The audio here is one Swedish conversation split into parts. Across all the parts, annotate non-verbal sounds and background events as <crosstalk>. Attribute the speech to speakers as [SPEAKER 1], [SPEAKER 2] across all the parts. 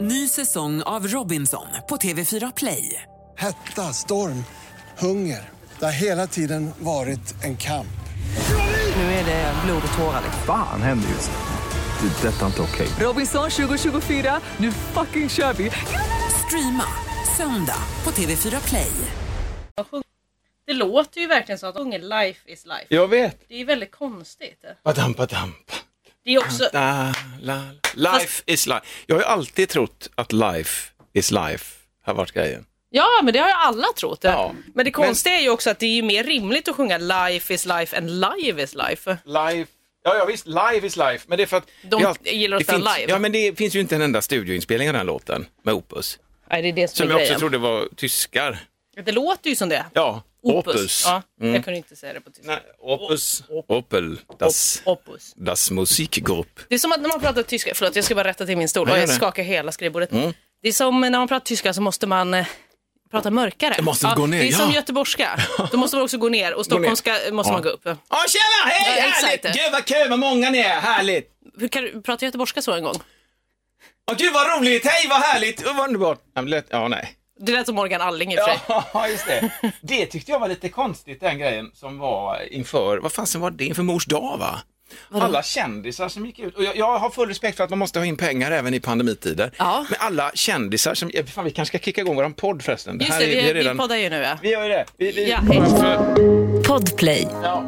[SPEAKER 1] Ny säsong av Robinson på TV4 Play.
[SPEAKER 2] Hetta, storm, hunger. Det har hela tiden varit en kamp.
[SPEAKER 1] Nu är det blod och tårar. liksom.
[SPEAKER 3] Fan händer just nu. Det. är Detta är inte okej.
[SPEAKER 1] Robinson 2024, nu fucking kör vi! Streama söndag på TV4 Play.
[SPEAKER 4] Det låter ju verkligen så att de sjunger life is life.
[SPEAKER 5] Jag vet.
[SPEAKER 4] Det är väldigt konstigt.
[SPEAKER 5] Badam, badam,
[SPEAKER 4] Det är också,
[SPEAKER 5] da, la, la. Life is life. Jag har ju alltid trott att life is life har varit grejen.
[SPEAKER 4] ja men det har ju alla trott.
[SPEAKER 5] Ja.
[SPEAKER 4] Men det konstiga är ju också att det är ju mer rimligt att sjunga life is life än live is life.
[SPEAKER 5] Life. Ja, ja, visst. Live is life. Men det är för att...
[SPEAKER 4] De
[SPEAKER 5] det är allt-
[SPEAKER 4] gillar att
[SPEAKER 5] det
[SPEAKER 4] spela
[SPEAKER 5] finns,
[SPEAKER 4] live.
[SPEAKER 5] Ja, men det finns ju inte en enda studioinspelning av den här låten med Opus.
[SPEAKER 4] Nej, det är det som,
[SPEAKER 5] Som
[SPEAKER 4] är
[SPEAKER 5] jag
[SPEAKER 4] grejen.
[SPEAKER 5] också trodde var tyskar.
[SPEAKER 4] Det låter ju som det.
[SPEAKER 5] Ja, Opus.
[SPEAKER 4] Ja,
[SPEAKER 5] Mm.
[SPEAKER 4] Jag kunde inte säga det på tyska.
[SPEAKER 5] Nej, opus. Opel. Das,
[SPEAKER 4] Op- opus.
[SPEAKER 5] das Musikgrupp.
[SPEAKER 4] Det är som att när man pratar tyska, förlåt jag ska bara rätta till min stol,
[SPEAKER 5] Ja,
[SPEAKER 4] och
[SPEAKER 5] gör
[SPEAKER 4] jag
[SPEAKER 5] det. Mm.
[SPEAKER 4] skakar hela skrivbordet. Det är som när man pratar tyska så måste man eh, prata mörkare.
[SPEAKER 5] Jag måste gå ner,
[SPEAKER 4] det är som
[SPEAKER 5] ja. <laughs>
[SPEAKER 4] göteborgska, då måste man också gå ner och stockholmska måste man gå upp.
[SPEAKER 5] Åh, tjena! Hej!
[SPEAKER 4] Ja,
[SPEAKER 5] härligt!
[SPEAKER 4] exakt.
[SPEAKER 5] Gud, vad kul! Vad många ni är! Härligt!
[SPEAKER 4] Hur kan du prata göteborgska så en gång?
[SPEAKER 5] Åh, gud, vad roligt! Hej, vad härligt! Vad underbart! Ja, men det lät- ja nej.
[SPEAKER 4] Det lät som Morgan Alling i och för sig.
[SPEAKER 5] <laughs> Ja, just det. Det tyckte jag var lite konstigt, den grejen som var inför, vad fasen var det, inför mors dag va? Alla kändisar som gick ut, och jag, jag har full respekt för att man måste ha in pengar även i pandemitider,
[SPEAKER 4] Ja.
[SPEAKER 5] men alla kändisar som, eh, fan vi kanske ska kicka igång våran podd förresten.
[SPEAKER 4] Just
[SPEAKER 5] här
[SPEAKER 4] det,
[SPEAKER 5] är-
[SPEAKER 4] vi,
[SPEAKER 5] är
[SPEAKER 4] vi poddar ju nu ja.
[SPEAKER 5] vi gör ju det. Vi, vi,
[SPEAKER 4] Ja.
[SPEAKER 6] Podplay.
[SPEAKER 5] Ja.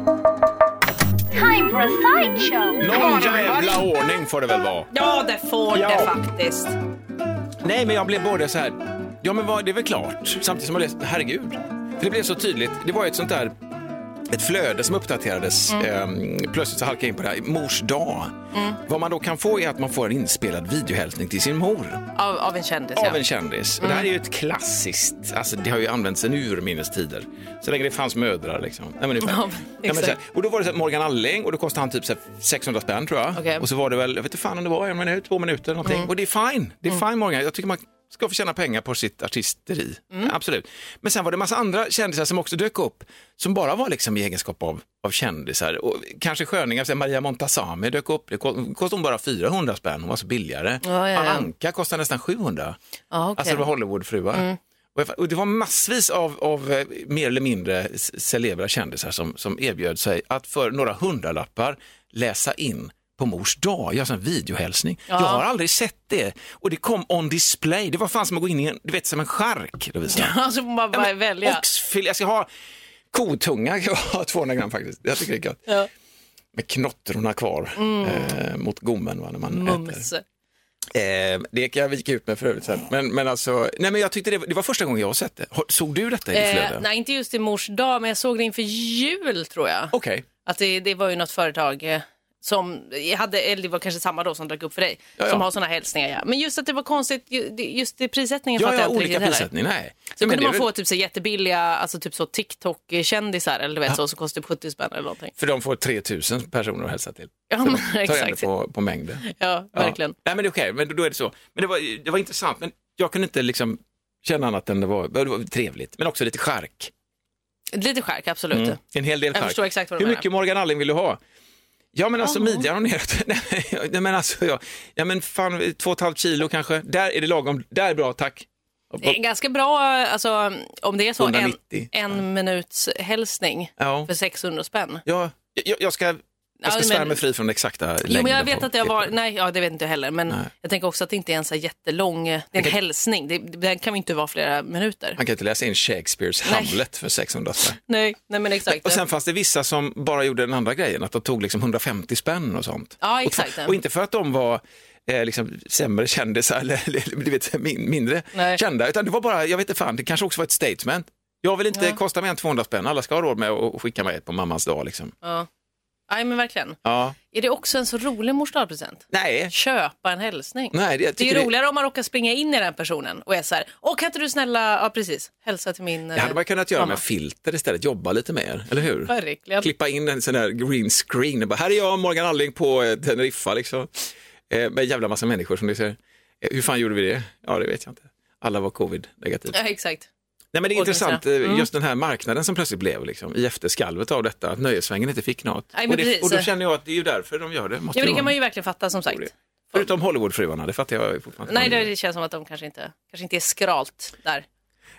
[SPEAKER 7] Time for a sideshow.
[SPEAKER 5] Någon jävla ordning får det väl vara.
[SPEAKER 4] Ja, det får
[SPEAKER 5] Ja.
[SPEAKER 4] det faktiskt.
[SPEAKER 5] Nej, men jag blev både så här, ja men vad, det är väl klart, samtidigt som jag läste, herregud. För det blev så tydligt, det var ju ett sånt där, ett flöde som uppdaterades, ehm, plötsligt så halkade jag in på det här, mors dag. Vad man då kan få är att man får en inspelad videohälsning till sin mor
[SPEAKER 4] Av, av en kändis
[SPEAKER 5] av
[SPEAKER 4] ja. Mm.
[SPEAKER 5] en kändis. Och det här är ju ett klassiskt, alltså det har ju använts sedan urminnes tider. Så länge det fanns mödrar liksom. Nej, men ungefär.
[SPEAKER 4] Ja,
[SPEAKER 5] Ja, men så här,
[SPEAKER 4] exakt.
[SPEAKER 5] och då var det så här, Morgan Alling och då kostade han typ så här 600 spänn tror jag.
[SPEAKER 4] Okej. Mm.
[SPEAKER 5] Och så var det väl, jag vet inte fan om det var en minut, två minuter eller någonting. Och det är fine, det är fine Morgan. Jag tycker man ska få tjäna pengar på sitt artisteri.
[SPEAKER 4] Mm.
[SPEAKER 5] Absolut. Men sen var det massa andra kändisar som också dök upp som bara var liksom i egenskap av, av kändisar. Och kanske sköningar, så här, Maria Montazami dök upp, det ko- kostade hon bara 400 spänn, hon var så billigare.
[SPEAKER 4] Ja, ja, ja.
[SPEAKER 5] Anka kostade nästan 700.
[SPEAKER 4] Ja, okej. Mm.
[SPEAKER 5] Alltså det var Hollywoodfruar. Och jag- Och det var massvis av, av eh, mer eller mindre s- celebra kändisar som, som erbjöd sig att för några hundralappar läsa in på mors dag, göra en videohälsning. Jag har aldrig sett det. Och det kom on display. Det var fan som att gå in i en, du vet, som en chark.
[SPEAKER 4] <laughs>
[SPEAKER 5] Lovisa.
[SPEAKER 4] Alltså får man
[SPEAKER 5] Ja,
[SPEAKER 4] bara
[SPEAKER 5] men
[SPEAKER 4] välja.
[SPEAKER 5] Oxfilé, jag ska ha kotunga, jag har 200 gram faktiskt. Jag tycker det är gött.
[SPEAKER 4] Ja. Mm.
[SPEAKER 5] Med knottrorna kvar eh, mot gommen va, när man äter.
[SPEAKER 4] Mums.
[SPEAKER 5] Eh, det kan jag vika ut med för övrigt sen. Men, men alltså, nej men jag tyckte det, det var första gången jag har sett det. Har- Såg du detta i ditt flöde?
[SPEAKER 4] Eh, nej, inte just i mors dag, men jag såg det inför jul tror jag.
[SPEAKER 5] Okej.
[SPEAKER 4] Att det, det var ju något företag eh, som hade, eller det var kanske samma då som dök upp för dig,
[SPEAKER 5] Ja, ja.
[SPEAKER 4] som har sådana hälsningar. Ja. Men just att det var konstigt, ju- det- just det, prissättningen
[SPEAKER 5] Ja,
[SPEAKER 4] fattar
[SPEAKER 5] ja,
[SPEAKER 4] jag inte
[SPEAKER 5] olika
[SPEAKER 4] riktigt heller.
[SPEAKER 5] prissättning. Nej.
[SPEAKER 4] Så
[SPEAKER 5] Nej, men
[SPEAKER 4] kunde
[SPEAKER 5] det är
[SPEAKER 4] man
[SPEAKER 5] väl-
[SPEAKER 4] få typ så jättebilliga, alltså typ så TikTok-kändisar eller du vet så, så kostar det 70 spänn eller någonting.
[SPEAKER 5] För de får 3000 personer att hälsa till.
[SPEAKER 4] <laughs> Ja,
[SPEAKER 5] Så
[SPEAKER 4] men
[SPEAKER 5] de tar igen
[SPEAKER 4] exakt.
[SPEAKER 5] det på, på mängden.
[SPEAKER 4] Ja, verkligen.
[SPEAKER 5] Ja. Nej, men det är okej, men då- då är det så. Men det var, det var intressant, men jag kunde inte liksom känna annat än det var, det var trevligt, men också lite chark.
[SPEAKER 4] Lite skärk, absolut.
[SPEAKER 5] <laughs> En hel del
[SPEAKER 4] Jag
[SPEAKER 5] chark.
[SPEAKER 4] förstår exakt vad du
[SPEAKER 5] Hur
[SPEAKER 4] menar.
[SPEAKER 5] mycket Morgan Alling vill du ha? Ja men alltså midjan och neråt. <laughs> Nej, men- Nej men alltså, ja. ja men fan två och ett halvt kilo kanske. Där är det lagom. Där är bra, tack.
[SPEAKER 4] Det är ganska bra, alltså om det är så, en,
[SPEAKER 5] 190.
[SPEAKER 4] en minuts hälsning
[SPEAKER 5] Ja,
[SPEAKER 4] för 600 spänn.
[SPEAKER 5] ja. Jag, jag ska, jag
[SPEAKER 4] Ja,
[SPEAKER 5] ska svära
[SPEAKER 4] men-
[SPEAKER 5] mig fri från den exakta längden.
[SPEAKER 4] Jo, men jag vet
[SPEAKER 5] på
[SPEAKER 4] att det har varit,
[SPEAKER 5] klippet.
[SPEAKER 4] nej, ja, det vet inte jag heller, men
[SPEAKER 5] Nej.
[SPEAKER 4] jag tänker också att det inte är en så här jättelång, eh, det är en hälsning, det, den kan ju inte vara flera minuter.
[SPEAKER 5] Man kan inte läsa in Shakespeares
[SPEAKER 4] Nej.
[SPEAKER 5] Hamlet för 600 spänn.
[SPEAKER 4] Nej, nej men exakt.
[SPEAKER 5] Och sen fanns det vissa som bara gjorde den andra grejen, att de tog liksom 150 spänn och sånt.
[SPEAKER 4] Ja,
[SPEAKER 5] Och-
[SPEAKER 4] exakt.
[SPEAKER 5] Och, inte för att de var eh, liksom, sämre kändisar <laughs> eller, eller du vet, min, mindre
[SPEAKER 4] Nej.
[SPEAKER 5] kända, utan det var bara, jag vet inte fan, det kanske också var ett statement. Jag vill inte kosta mer än 200 spänn, alla ska ha råd med att skicka mig på mammas dag. Liksom.
[SPEAKER 4] ja. Nej men verkligen.
[SPEAKER 5] Ja.
[SPEAKER 4] Är det också en så rolig mors dagpresent?
[SPEAKER 5] Nej,
[SPEAKER 4] Köpa en hälsning.
[SPEAKER 5] Nej, det-
[SPEAKER 4] det
[SPEAKER 5] jag
[SPEAKER 4] är
[SPEAKER 5] tycker
[SPEAKER 4] ju
[SPEAKER 5] det-
[SPEAKER 4] roligare om man råkar springa in i den personen och är så här, åh kan inte du snälla, ja precis, hälsa till min eh,
[SPEAKER 5] det hade man kunnat göra
[SPEAKER 4] mamma.
[SPEAKER 5] med filter istället, jobba lite mer, eller hur?
[SPEAKER 4] Verkligen.
[SPEAKER 5] Klippa in en sån där green screen, och bara, här är jag Morgan Alling på eh, Teneriffa liksom. Eh, med en jävla massa människor som du ser. Eh, hur fan gjorde vi det? Ja, det vet jag inte. Alla var covid-negativa.
[SPEAKER 4] Ja, exakt.
[SPEAKER 5] Nej, men det är
[SPEAKER 4] Och Eh, det
[SPEAKER 5] intressant,
[SPEAKER 4] mesta.
[SPEAKER 5] eh, just den här marknaden som plötsligt blev liksom, i efterskalvet av detta, att nöjesvängen inte fick något.
[SPEAKER 4] Nej, men
[SPEAKER 5] och, det,
[SPEAKER 4] precis.
[SPEAKER 5] och då känner jag att det är ju därför de gör det. måste
[SPEAKER 4] Ja, men
[SPEAKER 5] ju
[SPEAKER 4] det kan
[SPEAKER 5] vara.
[SPEAKER 4] man ju verkligen fatta som sagt.
[SPEAKER 5] Förutom Hollywoodfruarna, det fattar jag ju fortfarande.
[SPEAKER 4] Nej, det det känns som att de kanske inte, kanske inte är skralt där.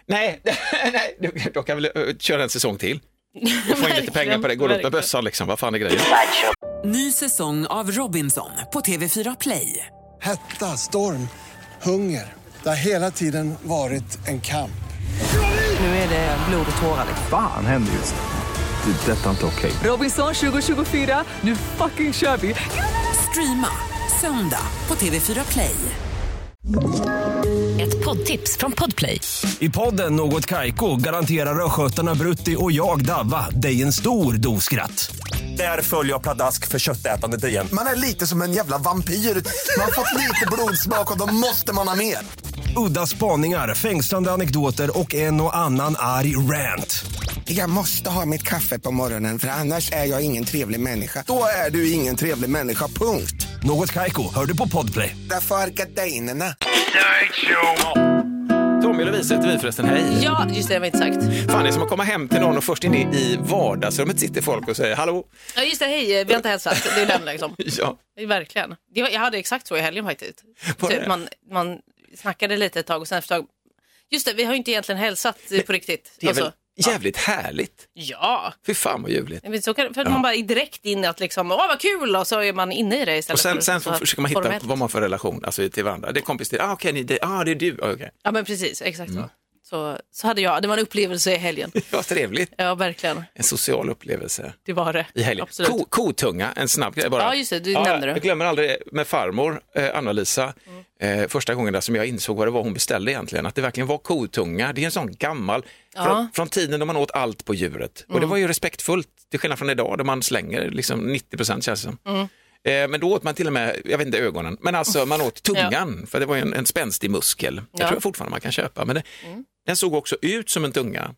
[SPEAKER 5] Nej, <laughs> nej, du- de kan väl ö, köra en säsong till. Och få in lite
[SPEAKER 4] Verkligen,
[SPEAKER 5] pengar på det, gå runt med
[SPEAKER 4] verkligen.
[SPEAKER 5] bössan liksom, vad fan är grejen?
[SPEAKER 1] Ny säsong av Robinson på TV4 Play.
[SPEAKER 2] Hetta, storm, hunger. Det har hela tiden varit en kamp.
[SPEAKER 1] Nu är det blod och tårar.
[SPEAKER 3] Fan händer just nu. Det. är Detta är inte okej.
[SPEAKER 1] Robinson 2024, nu fucking kör vi! Streama söndag på TV4 Play.
[SPEAKER 6] Ett poddtips från Podplay.
[SPEAKER 8] I podden Något Kaiko garanterar östgötarna Brutti och jag, Davva, dig en stor dos skratt. Där följer jag pladask för köttätandet igen.
[SPEAKER 9] Man är lite som en jävla vampyr. Man har fått lite blodsmak och då måste man ha mer.
[SPEAKER 8] Udda spaningar, fängslande anekdoter och en och annan arg rant.
[SPEAKER 9] Jag måste ha mitt kaffe på morgonen för annars är jag ingen trevlig människa. Då är du ingen trevlig människa, punkt.
[SPEAKER 8] Något Kaiko, hör du på Podplay.
[SPEAKER 9] Därför är gardinerna.
[SPEAKER 5] Tommy och Lovisa heter vi förresten, hej.
[SPEAKER 4] Ja, just det, det har vi inte sagt.
[SPEAKER 5] Fan, det är som att komma hem till någon och först inne i vardagsrummet sitter folk och säger hallå.
[SPEAKER 4] Ja, just det, hej, eh, vi har inte hälsat. Det är den
[SPEAKER 5] <laughs>
[SPEAKER 4] liksom.
[SPEAKER 5] Ja.
[SPEAKER 4] Det är Verkligen. Jag, jag hade exakt så i helgen faktiskt.
[SPEAKER 5] Var det?
[SPEAKER 4] Typ, man, man snackade lite ett tag och sen efter ett tag, just det, vi har ju inte egentligen hälsat eh, på riktigt.
[SPEAKER 5] Det är
[SPEAKER 4] Och så-
[SPEAKER 5] väl jävligt härligt.
[SPEAKER 4] Ja,
[SPEAKER 5] Fy fan vad ljuvligt.
[SPEAKER 4] Nej, men så kan, för att man bara är direkt in i att liksom, åh vad kul och så är man inne i det istället.
[SPEAKER 5] Och sen,
[SPEAKER 4] för
[SPEAKER 5] sen
[SPEAKER 4] så
[SPEAKER 5] får,
[SPEAKER 4] här
[SPEAKER 5] försöker man hitta
[SPEAKER 4] formellt.
[SPEAKER 5] vad man får för relation alltså, till varandra. Det är kompis till, ah, okej, ni- det, ah, det är du, ah, okej.
[SPEAKER 4] Ja men precis, exakt
[SPEAKER 5] Mm.
[SPEAKER 4] så. så. Så hade jag, det var en upplevelse i
[SPEAKER 5] <laughs>
[SPEAKER 4] helgen.
[SPEAKER 5] Vad trevligt.
[SPEAKER 4] Ja verkligen,
[SPEAKER 5] En social upplevelse.
[SPEAKER 4] det var det.
[SPEAKER 5] i helgen.
[SPEAKER 4] Absolut.
[SPEAKER 5] Ko, kotunga, en snabb grej bara.
[SPEAKER 4] Ja, just det, du nämnde det.
[SPEAKER 5] Jag glömmer aldrig med farmor, eh, Anna-Lisa,
[SPEAKER 4] Mm.
[SPEAKER 5] eh, första gången där som jag insåg vad det var hon beställde egentligen, att det verkligen var kotunga. Det är en sån gammal, från, från tiden då man åt allt på djuret.
[SPEAKER 4] Mm.
[SPEAKER 5] Och det var ju respektfullt, till skillnad från idag då man slänger liksom 90 procent känns det som.
[SPEAKER 4] Mm.
[SPEAKER 5] Eh, Men då åt man till och med, jag vet inte ögonen, men alltså man åt tungan, för det var ju en, en spänstig muskel. Jag
[SPEAKER 4] Ja. Mm.
[SPEAKER 5] tror fortfarande man kan köpa, men det, den såg också ut som en tunga.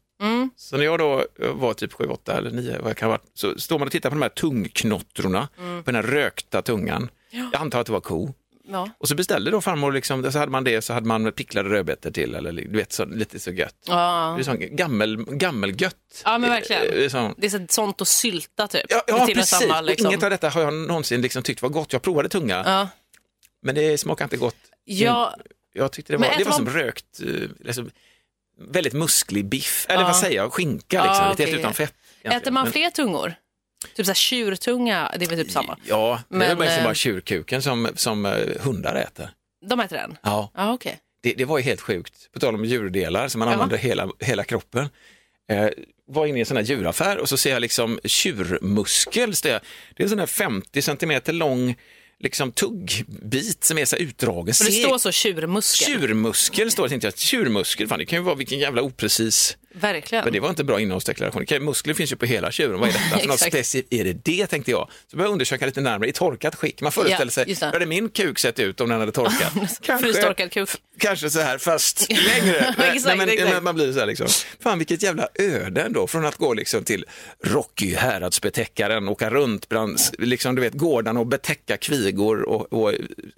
[SPEAKER 5] Så när jag då var typ 7, 8 eller 9, vad jag kan ha varit, så står man och tittar på de här tungknottrorna,
[SPEAKER 4] Mm.
[SPEAKER 5] på den här rökta tungan. Jag antar att det var ko.
[SPEAKER 4] Ja.
[SPEAKER 5] Och så beställde då farmor, liksom, så hade man det, så hade man picklade rödbetor till, eller du vet, så, lite så gött.
[SPEAKER 4] Ja.
[SPEAKER 5] Det är sån gammel, gammelgött.
[SPEAKER 4] ja men verkligen.
[SPEAKER 5] Eh, eh, sån-
[SPEAKER 4] Det är så- sånt och sylta typ.
[SPEAKER 5] Ja, ja
[SPEAKER 4] till och med
[SPEAKER 5] precis.
[SPEAKER 4] Samma,
[SPEAKER 5] Och
[SPEAKER 4] liksom.
[SPEAKER 5] Inget av detta har jag någonsin liksom tyckt var gott. Jag provade tunga,
[SPEAKER 4] Ja.
[SPEAKER 5] men det smakar inte gott.
[SPEAKER 4] Ja,
[SPEAKER 5] Jag tyckte det
[SPEAKER 4] Men
[SPEAKER 5] var, det
[SPEAKER 4] äter
[SPEAKER 5] var som
[SPEAKER 4] man-
[SPEAKER 5] rökt, eh, liksom, väldigt musklig biff, eller
[SPEAKER 4] Ja.
[SPEAKER 5] vad säger jag, skinka
[SPEAKER 4] Ja,
[SPEAKER 5] liksom, lite
[SPEAKER 4] okej.
[SPEAKER 5] helt utan fett. egentligen.
[SPEAKER 4] äter man
[SPEAKER 5] Men-
[SPEAKER 4] fler tungor? Typ så här tjurtunga, det är väl typ samma?
[SPEAKER 5] Ja, det är väl
[SPEAKER 4] Men,
[SPEAKER 5] mest
[SPEAKER 4] eh,
[SPEAKER 5] bara tjurkuken som, som eh, hundar äter.
[SPEAKER 4] De äter den?
[SPEAKER 5] Ja.
[SPEAKER 4] Ja, okej.
[SPEAKER 5] Det, det var ju helt sjukt, på tal om djurdelar som man
[SPEAKER 4] Ja.
[SPEAKER 5] använder hela, hela kroppen. Eh, var inne i en sån här djuraffär och så ser jag liksom tjurmuskel. Så det är det är en sån här 50 centimeter lång liksom tuggbit som är så här utdragen.
[SPEAKER 4] Och det
[SPEAKER 5] Seg-
[SPEAKER 4] står så tjurmuskel.
[SPEAKER 5] Tjurmuskel står det, tänkte jag. Tjurmuskel, fan det kan ju vara vilken jävla oprecis
[SPEAKER 4] Verkligen.
[SPEAKER 5] Men det var inte bra innehållsdeklaration. Okej, muskler finns ju på hela
[SPEAKER 4] <laughs>
[SPEAKER 5] tjuren, vad är detta? För något
[SPEAKER 4] Exakt.
[SPEAKER 5] specif- är det det, tänkte jag. Så började jag undersöka lite närmare i torkat skick. Man föreställer
[SPEAKER 4] Ja,
[SPEAKER 5] sig,
[SPEAKER 4] just det.
[SPEAKER 5] hur hade min kuk sett ut om den
[SPEAKER 4] <laughs>
[SPEAKER 5] hade torkat?
[SPEAKER 4] Frystorkad kuk.
[SPEAKER 5] Kanske så
[SPEAKER 4] <laughs>
[SPEAKER 5] här, fast längre.
[SPEAKER 4] Exakt,
[SPEAKER 5] men,
[SPEAKER 4] exakt.
[SPEAKER 5] men man blir så här liksom, fan vilket jävla öde ändå, från att gå liksom till Rocky, häradsbetäckaren, åka runt bland liksom, du vet, gårdarna och betäcka kvigor och, och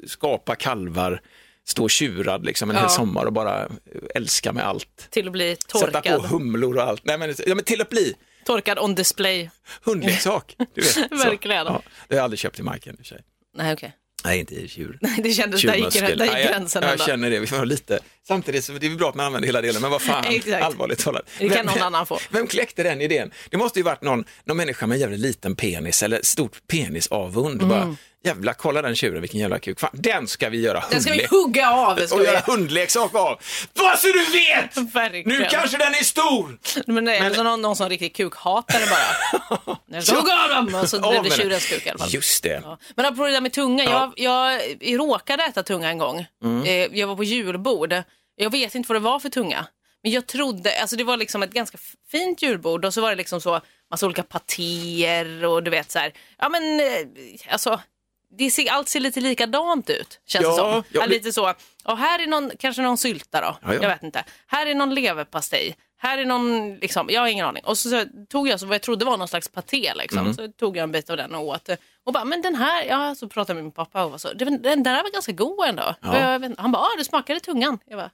[SPEAKER 5] skapa kalvar, stå tjurad liksom, en hel sommar och bara älska med allt.
[SPEAKER 4] Till att bli
[SPEAKER 5] Sätta på
[SPEAKER 4] torkad.
[SPEAKER 5] humlor och allt. Nej, men, ja, men till att bli
[SPEAKER 4] Torkad on display.
[SPEAKER 5] hundleksak. Du
[SPEAKER 4] <laughs>
[SPEAKER 5] vet, så.
[SPEAKER 4] Verkligen.
[SPEAKER 5] Ja, det har jag aldrig köpt i marken i och för sig.
[SPEAKER 4] Nej, okej. <laughs>
[SPEAKER 5] Nej, inte i tjur.
[SPEAKER 4] Det kändes, där gick, där
[SPEAKER 5] Tjurmuskel.
[SPEAKER 4] gick
[SPEAKER 5] Nej, jag-
[SPEAKER 4] gränsen
[SPEAKER 5] Jag,
[SPEAKER 4] ändå.
[SPEAKER 5] känner det, vi får ha lite. Samtidigt så det är väl bra att man använder hela delen, men vad fan,
[SPEAKER 4] Exakt.
[SPEAKER 5] allvarligt talat.
[SPEAKER 4] Det kan
[SPEAKER 5] Vem-
[SPEAKER 4] någon annan få.
[SPEAKER 5] <laughs> Vem kläckte den idén? Det måste ju varit någon, någon människa med en jävligt liten penis eller stort penisavund. Bara,
[SPEAKER 4] Mm.
[SPEAKER 5] jävla, kolla den tjuren, vilken jävla kuk. Fan, den ska vi göra
[SPEAKER 4] Den ska vi
[SPEAKER 5] hundlek-
[SPEAKER 4] hugga av. Ska
[SPEAKER 5] och göra
[SPEAKER 4] vi.
[SPEAKER 5] hundleksak av. Vad så du
[SPEAKER 4] <laughs>
[SPEAKER 5] vet!
[SPEAKER 4] Verkligen.
[SPEAKER 5] Nu kanske den är stor!
[SPEAKER 4] Men nej, men... Någon, någon som riktigt kukhatare bara.
[SPEAKER 5] <laughs>
[SPEAKER 4] Jag ska hugga av dem! Och så
[SPEAKER 5] Av
[SPEAKER 4] blev det
[SPEAKER 5] med den.
[SPEAKER 4] tjurens kuk i alla fall.
[SPEAKER 5] Just det.
[SPEAKER 4] Ja. Men apropå det där med tunga, jag, jag råkade äta tunga en gång.
[SPEAKER 5] Mm.
[SPEAKER 4] Eh, Jag var på julbord. Jag vet inte vad det var för tunga. Men jag trodde, alltså det var liksom ett ganska f- fint julbord och så var det liksom så massa olika patéer och du vet så här. Ja men eh, alltså, det ser, allt ser lite likadant ut känns
[SPEAKER 5] Ja,
[SPEAKER 4] det som.
[SPEAKER 5] ja,
[SPEAKER 4] Ja,
[SPEAKER 5] det-
[SPEAKER 4] lite så, och här är någon, kanske någon sylta då.
[SPEAKER 5] Ja, ja.
[SPEAKER 4] Jag vet inte. Här är någon leverpastej. Här är någon, liksom, jag har ingen aning. Och så, så tog jag så vad jag trodde var någon slags paté. Liksom.
[SPEAKER 5] Mm.
[SPEAKER 4] Så tog jag en bit av den och åt. Och bara, men den här, ja, så pratade jag med min pappa och var så, den, den där var ganska god ändå. Och jag, vet inte- han bara, ah, du smakade tungan. Jag bara,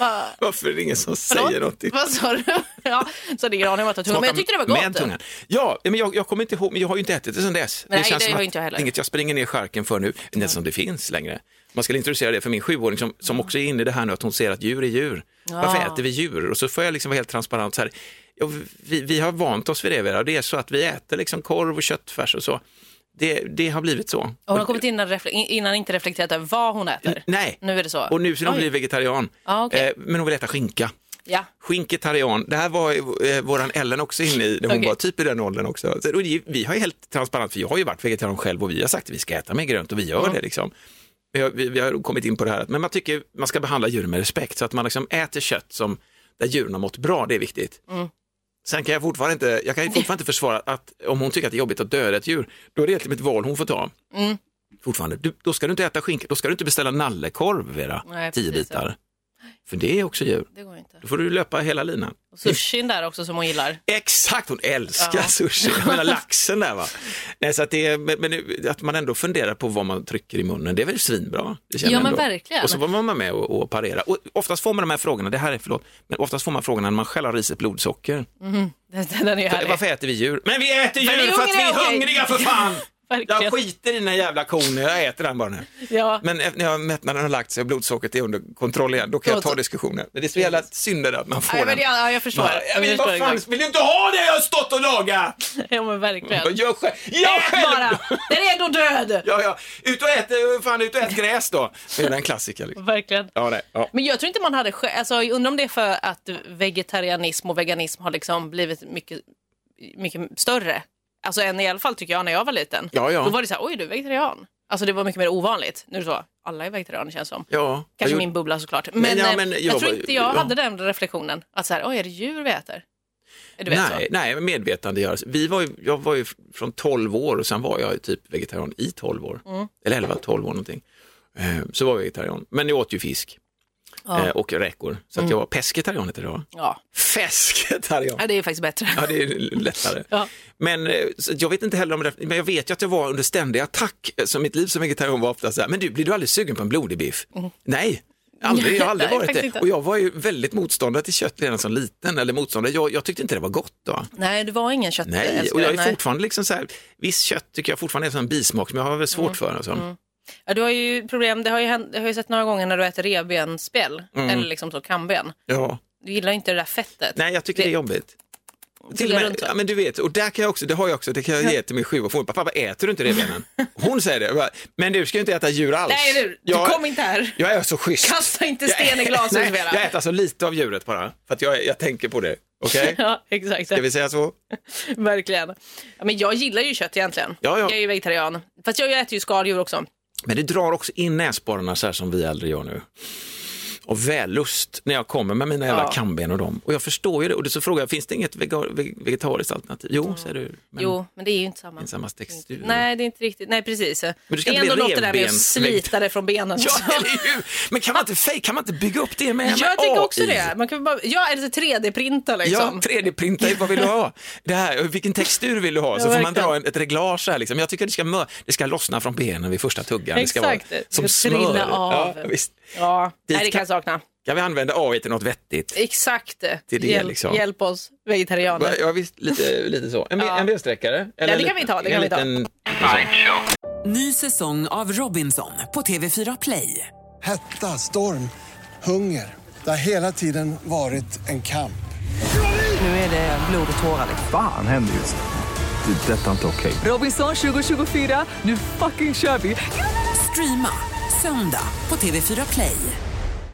[SPEAKER 4] Va,
[SPEAKER 5] Varför är det ingen som
[SPEAKER 4] vadå?
[SPEAKER 5] säger någonting?
[SPEAKER 4] Vad sa du? <laughs> Ja, så det är granen varit tungan. Men jag tyckte det var gott. eh.
[SPEAKER 5] Med tungan. Ja, men jag, jag kommer inte ihåg, men jag har ju inte ätit det sedan dess.
[SPEAKER 4] Nej, det
[SPEAKER 5] som
[SPEAKER 4] har
[SPEAKER 5] att
[SPEAKER 4] inte jag heller.
[SPEAKER 5] Inget jag springer ner skärken för nu, inte ens om det finns längre. Man ska introducera det för min sjuåring som, som också är inne i det här nu, att hon ser att djur är djur. Varför äter vi djur? Och så får jag liksom vara helt transparent så här. Ja, vi, vi har vant oss vid det, Vera. det är så att vi äter liksom korv och köttfärs och så. Det, det har blivit så.
[SPEAKER 4] Hon har kommit innan, refle- innan inte reflekterat över vad hon äter.
[SPEAKER 5] Nej,
[SPEAKER 4] Nu är det så.
[SPEAKER 5] och nu ska hon
[SPEAKER 4] Oj.
[SPEAKER 5] bli vegetarian.
[SPEAKER 4] Ja, okej.
[SPEAKER 5] Eh, Men hon vill äta skinka.
[SPEAKER 4] Ja.
[SPEAKER 5] Skinketarian, det här var eh, våran Ellen också inne i, när hon
[SPEAKER 4] Okej.
[SPEAKER 5] var typ i den åldern också. Så, och det- vi har ju helt transparent, för jag har ju varit vegetarian själv och vi har sagt att vi ska äta mer grönt och vi gör det liksom. Vi har, vi, vi har kommit in på det här, att- men man tycker man ska behandla djur med respekt så att man liksom äter kött som, där djuren har mått bra, det är viktigt.
[SPEAKER 4] Mm.
[SPEAKER 5] Sen kan jag fortfarande inte, jag kan ju fortfarande inte försvara att om hon tycker att det är jobbigt att döda ett djur, då är det egentligen ett val hon får ta.
[SPEAKER 4] Mm.
[SPEAKER 5] Fortfarande, du, då ska du inte äta skinka, då ska du inte beställa nallekorv Vera,
[SPEAKER 4] Nej,
[SPEAKER 5] tio
[SPEAKER 4] precis, ja.
[SPEAKER 5] bitar. För det är också djur.
[SPEAKER 4] Det går inte.
[SPEAKER 5] Då får du löpa hela linan.
[SPEAKER 4] Och sushin där också som hon gillar. <laughs>
[SPEAKER 5] Exakt, hon älskar
[SPEAKER 4] Ja.
[SPEAKER 5] sushi.
[SPEAKER 4] <laughs>
[SPEAKER 5] Jag menar laxen där va. Nej, så att det är, men men nu- att man ändå funderar på vad man trycker i munnen, det är väl svinbra? Det känner
[SPEAKER 4] Ja,
[SPEAKER 5] jag
[SPEAKER 4] men
[SPEAKER 5] ändå.
[SPEAKER 4] verkligen.
[SPEAKER 5] Och så var man med och, och parera. Och oftast får man de här frågorna, det här är förlåt, men oftast får man frågorna när man själv har i sig blodsocker.
[SPEAKER 4] Den, den är ju härlig.
[SPEAKER 5] Varför äter vi djur? Men vi äter
[SPEAKER 4] Men vi
[SPEAKER 5] djur
[SPEAKER 4] är
[SPEAKER 5] för att vi
[SPEAKER 4] hungriga,
[SPEAKER 5] är
[SPEAKER 4] okej.
[SPEAKER 5] hungriga
[SPEAKER 4] <laughs>
[SPEAKER 5] för fan! Jag
[SPEAKER 4] Verkligen.
[SPEAKER 5] skiter i den här jävla kon, jag äter den bara nu.
[SPEAKER 4] Ja.
[SPEAKER 5] Men efter- när jag- mättnaden har lagt sig och blodsockret är under kontroll igen, då kan jag
[SPEAKER 4] Då-
[SPEAKER 5] ta diskussionen. Men det är så jävla synd det där att man får
[SPEAKER 4] Nej, men
[SPEAKER 5] den.
[SPEAKER 4] det- ja, jag förstår.
[SPEAKER 5] Ja, jag
[SPEAKER 4] Jag
[SPEAKER 5] vill,
[SPEAKER 4] förstår
[SPEAKER 5] vad fan,
[SPEAKER 4] exakt.
[SPEAKER 5] vill du inte ha det jag har stått och lagat?
[SPEAKER 4] Ja men verkligen.
[SPEAKER 5] Jag gör själv. Jag
[SPEAKER 4] Ät
[SPEAKER 5] själv!
[SPEAKER 4] bara! Den är ändå död!
[SPEAKER 5] Ja, ja. Ut och ät, eh, fan, ut och ät gräs då. Det är en klassiker. Liksom.
[SPEAKER 4] Verkligen.
[SPEAKER 5] Ja, nej, ja.
[SPEAKER 4] Men jag tror inte man hade skä- alltså jag undrar om det är för att vegetarianism och veganism har liksom blivit mycket, mycket större. Alltså än i alla fall tycker jag när jag var liten.
[SPEAKER 5] Ja, ja.
[SPEAKER 4] Då var det så här, oj du är vegetarian. Alltså det var mycket mer ovanligt. Nu är det så, alla är vegetarianer känns som.
[SPEAKER 5] ja.
[SPEAKER 4] Kanske
[SPEAKER 5] jag
[SPEAKER 4] min
[SPEAKER 5] gjorde-
[SPEAKER 4] bubbla såklart. Men,
[SPEAKER 5] Men, ja,
[SPEAKER 4] eh,
[SPEAKER 5] men
[SPEAKER 4] jag,
[SPEAKER 5] jag
[SPEAKER 4] tror
[SPEAKER 5] var-
[SPEAKER 4] inte jag
[SPEAKER 5] ja.
[SPEAKER 4] hade den reflektionen. Att så här, oj är det djur vi äter? Du vet
[SPEAKER 5] Nej, nej, medvetandegörelse. Vi var ju, jag var ju från 12 år och sen var jag ju typ vegetarian i 12 år.
[SPEAKER 4] Mm.
[SPEAKER 5] Eller 11, 12 år någonting. Eh, Så var jag vegetarian. Men jag åt ju fisk eh, och räkor. Så
[SPEAKER 4] Mm.
[SPEAKER 5] att jag var pescetarian heter det va?
[SPEAKER 4] så. Ja.
[SPEAKER 5] Fesketarian!
[SPEAKER 4] ja, det är faktiskt bättre.
[SPEAKER 5] Ja, det är lättare.
[SPEAKER 4] Ja.
[SPEAKER 5] Men eh, så jag vet inte heller om det, men jag vet ju att jag var under ständig attack, eh, så mitt liv som vegetarian var ofta så här, men du, blir du aldrig sugen på en blodig biff? Nej. Aldrig, jag har aldrig
[SPEAKER 4] Mm. Nej,
[SPEAKER 5] varit
[SPEAKER 4] faktiskt
[SPEAKER 5] det.
[SPEAKER 4] inte.
[SPEAKER 5] Och jag var ju väldigt motståndare till kött redan som liten, eller motståndare, jag, jag tyckte inte det var gott då.
[SPEAKER 4] Nej, du var ingen köttälskare.
[SPEAKER 5] Nej, och jag är
[SPEAKER 4] nej.
[SPEAKER 5] fortfarande liksom så här, visst kött tycker jag fortfarande är som en bismak som jag har väl svårt
[SPEAKER 4] Mm,
[SPEAKER 5] för. Alltså.
[SPEAKER 4] Ja, du har ju problem, det har ju, hänt, jag har ju sett några gånger när du äter revbensspjäll
[SPEAKER 5] Mm.
[SPEAKER 4] eller liksom så kamben.
[SPEAKER 5] Ja.
[SPEAKER 4] Du gillar ju inte det där fettet.
[SPEAKER 5] Nej, jag tycker det, är jobbigt. Till och
[SPEAKER 4] Gillar
[SPEAKER 5] med,
[SPEAKER 4] runt så.
[SPEAKER 5] ja, men du vet, och där kan jag också, det har jag också, det kan jag ge till min sjuåring. Pappa, äter du inte revbenen? Hon säger det, Jag bara, men du ska ju inte äta djur alls.
[SPEAKER 4] Nej, du, du
[SPEAKER 5] Jag-
[SPEAKER 4] kom inte här.
[SPEAKER 5] Jag är så schysst.
[SPEAKER 4] Kasta inte sten i glashus,
[SPEAKER 5] Nej,
[SPEAKER 4] Vera.
[SPEAKER 5] Jag äter så lite av djuret bara, för att jag, jag tänker på det. Okej?
[SPEAKER 4] <laughs> Ja, exakt.
[SPEAKER 5] Ska vi säga så?
[SPEAKER 4] Verkligen. Ja, men jag gillar ju kött egentligen.
[SPEAKER 5] Ja, ja.
[SPEAKER 4] Jag är ju vegetarian. Fast jag äter ju skaldjur också.
[SPEAKER 5] Men det drar också in näsborrarna så här som vi äldre gör nu. Och vällust när jag kommer med mina jävla
[SPEAKER 4] Ja.
[SPEAKER 5] kamben och dem. Och jag förstår ju det. Och så frågar jag, finns det inget vega- ve- vegetariskt alternativ? Jo, säger du. Men
[SPEAKER 4] Jo, men det är ju inte samma.
[SPEAKER 5] det är samma textur.
[SPEAKER 4] Nej, det är inte riktigt. Nej, precis. Men
[SPEAKER 5] du ska
[SPEAKER 4] det är
[SPEAKER 5] inte
[SPEAKER 4] ändå
[SPEAKER 5] bli
[SPEAKER 4] något det där med att
[SPEAKER 5] revbens-
[SPEAKER 4] slita det från benen.
[SPEAKER 5] <laughs> <laughs> Ja, eller hur? Men kan man inte, fej- kan man inte bygga upp det med med
[SPEAKER 4] jag tycker också
[SPEAKER 5] AI?
[SPEAKER 4] det. Man kan väl bara, ja, eller så 3D-printa liksom.
[SPEAKER 5] Ja, 3D-printa, vad vill du ha? Det här, vilken textur vill du ha? Så
[SPEAKER 4] Ja,
[SPEAKER 5] får man
[SPEAKER 4] verkligen.
[SPEAKER 5] dra en, ett reglage här. Liksom. Jag tycker det ska, mö- det ska lossna från benen vid första tuggan. Det ska
[SPEAKER 4] Exakt.
[SPEAKER 5] vara
[SPEAKER 4] Det
[SPEAKER 5] som
[SPEAKER 4] ska
[SPEAKER 5] smör.
[SPEAKER 4] trilla av.
[SPEAKER 5] Ja, visst.
[SPEAKER 4] Ja.
[SPEAKER 5] Dit
[SPEAKER 4] Nej, det kan
[SPEAKER 5] kan-
[SPEAKER 4] jag sakna.
[SPEAKER 5] Kan vi använda AI till något vettigt?
[SPEAKER 4] Exakt.
[SPEAKER 5] Till det,
[SPEAKER 4] hjälp,
[SPEAKER 5] liksom.
[SPEAKER 4] hjälp oss vegetarianer.
[SPEAKER 5] Ja, visst, lite, lite så. En, ja. en vedsträckare? Eller
[SPEAKER 4] det
[SPEAKER 5] en
[SPEAKER 4] kan vi ta, det
[SPEAKER 5] en
[SPEAKER 4] kan vi ta.
[SPEAKER 5] liten- Alltså.
[SPEAKER 1] Ny säsong av Robinson på TV4 Play.
[SPEAKER 2] Hetta, storm, hunger. Det har hela tiden varit en kamp.
[SPEAKER 1] Nu är det blod och tårar. liksom.
[SPEAKER 3] Fan händer just det. Det är detta inte okej.
[SPEAKER 1] Robinson 2024, nu fucking kör vi! Streama söndag på TV4 Play.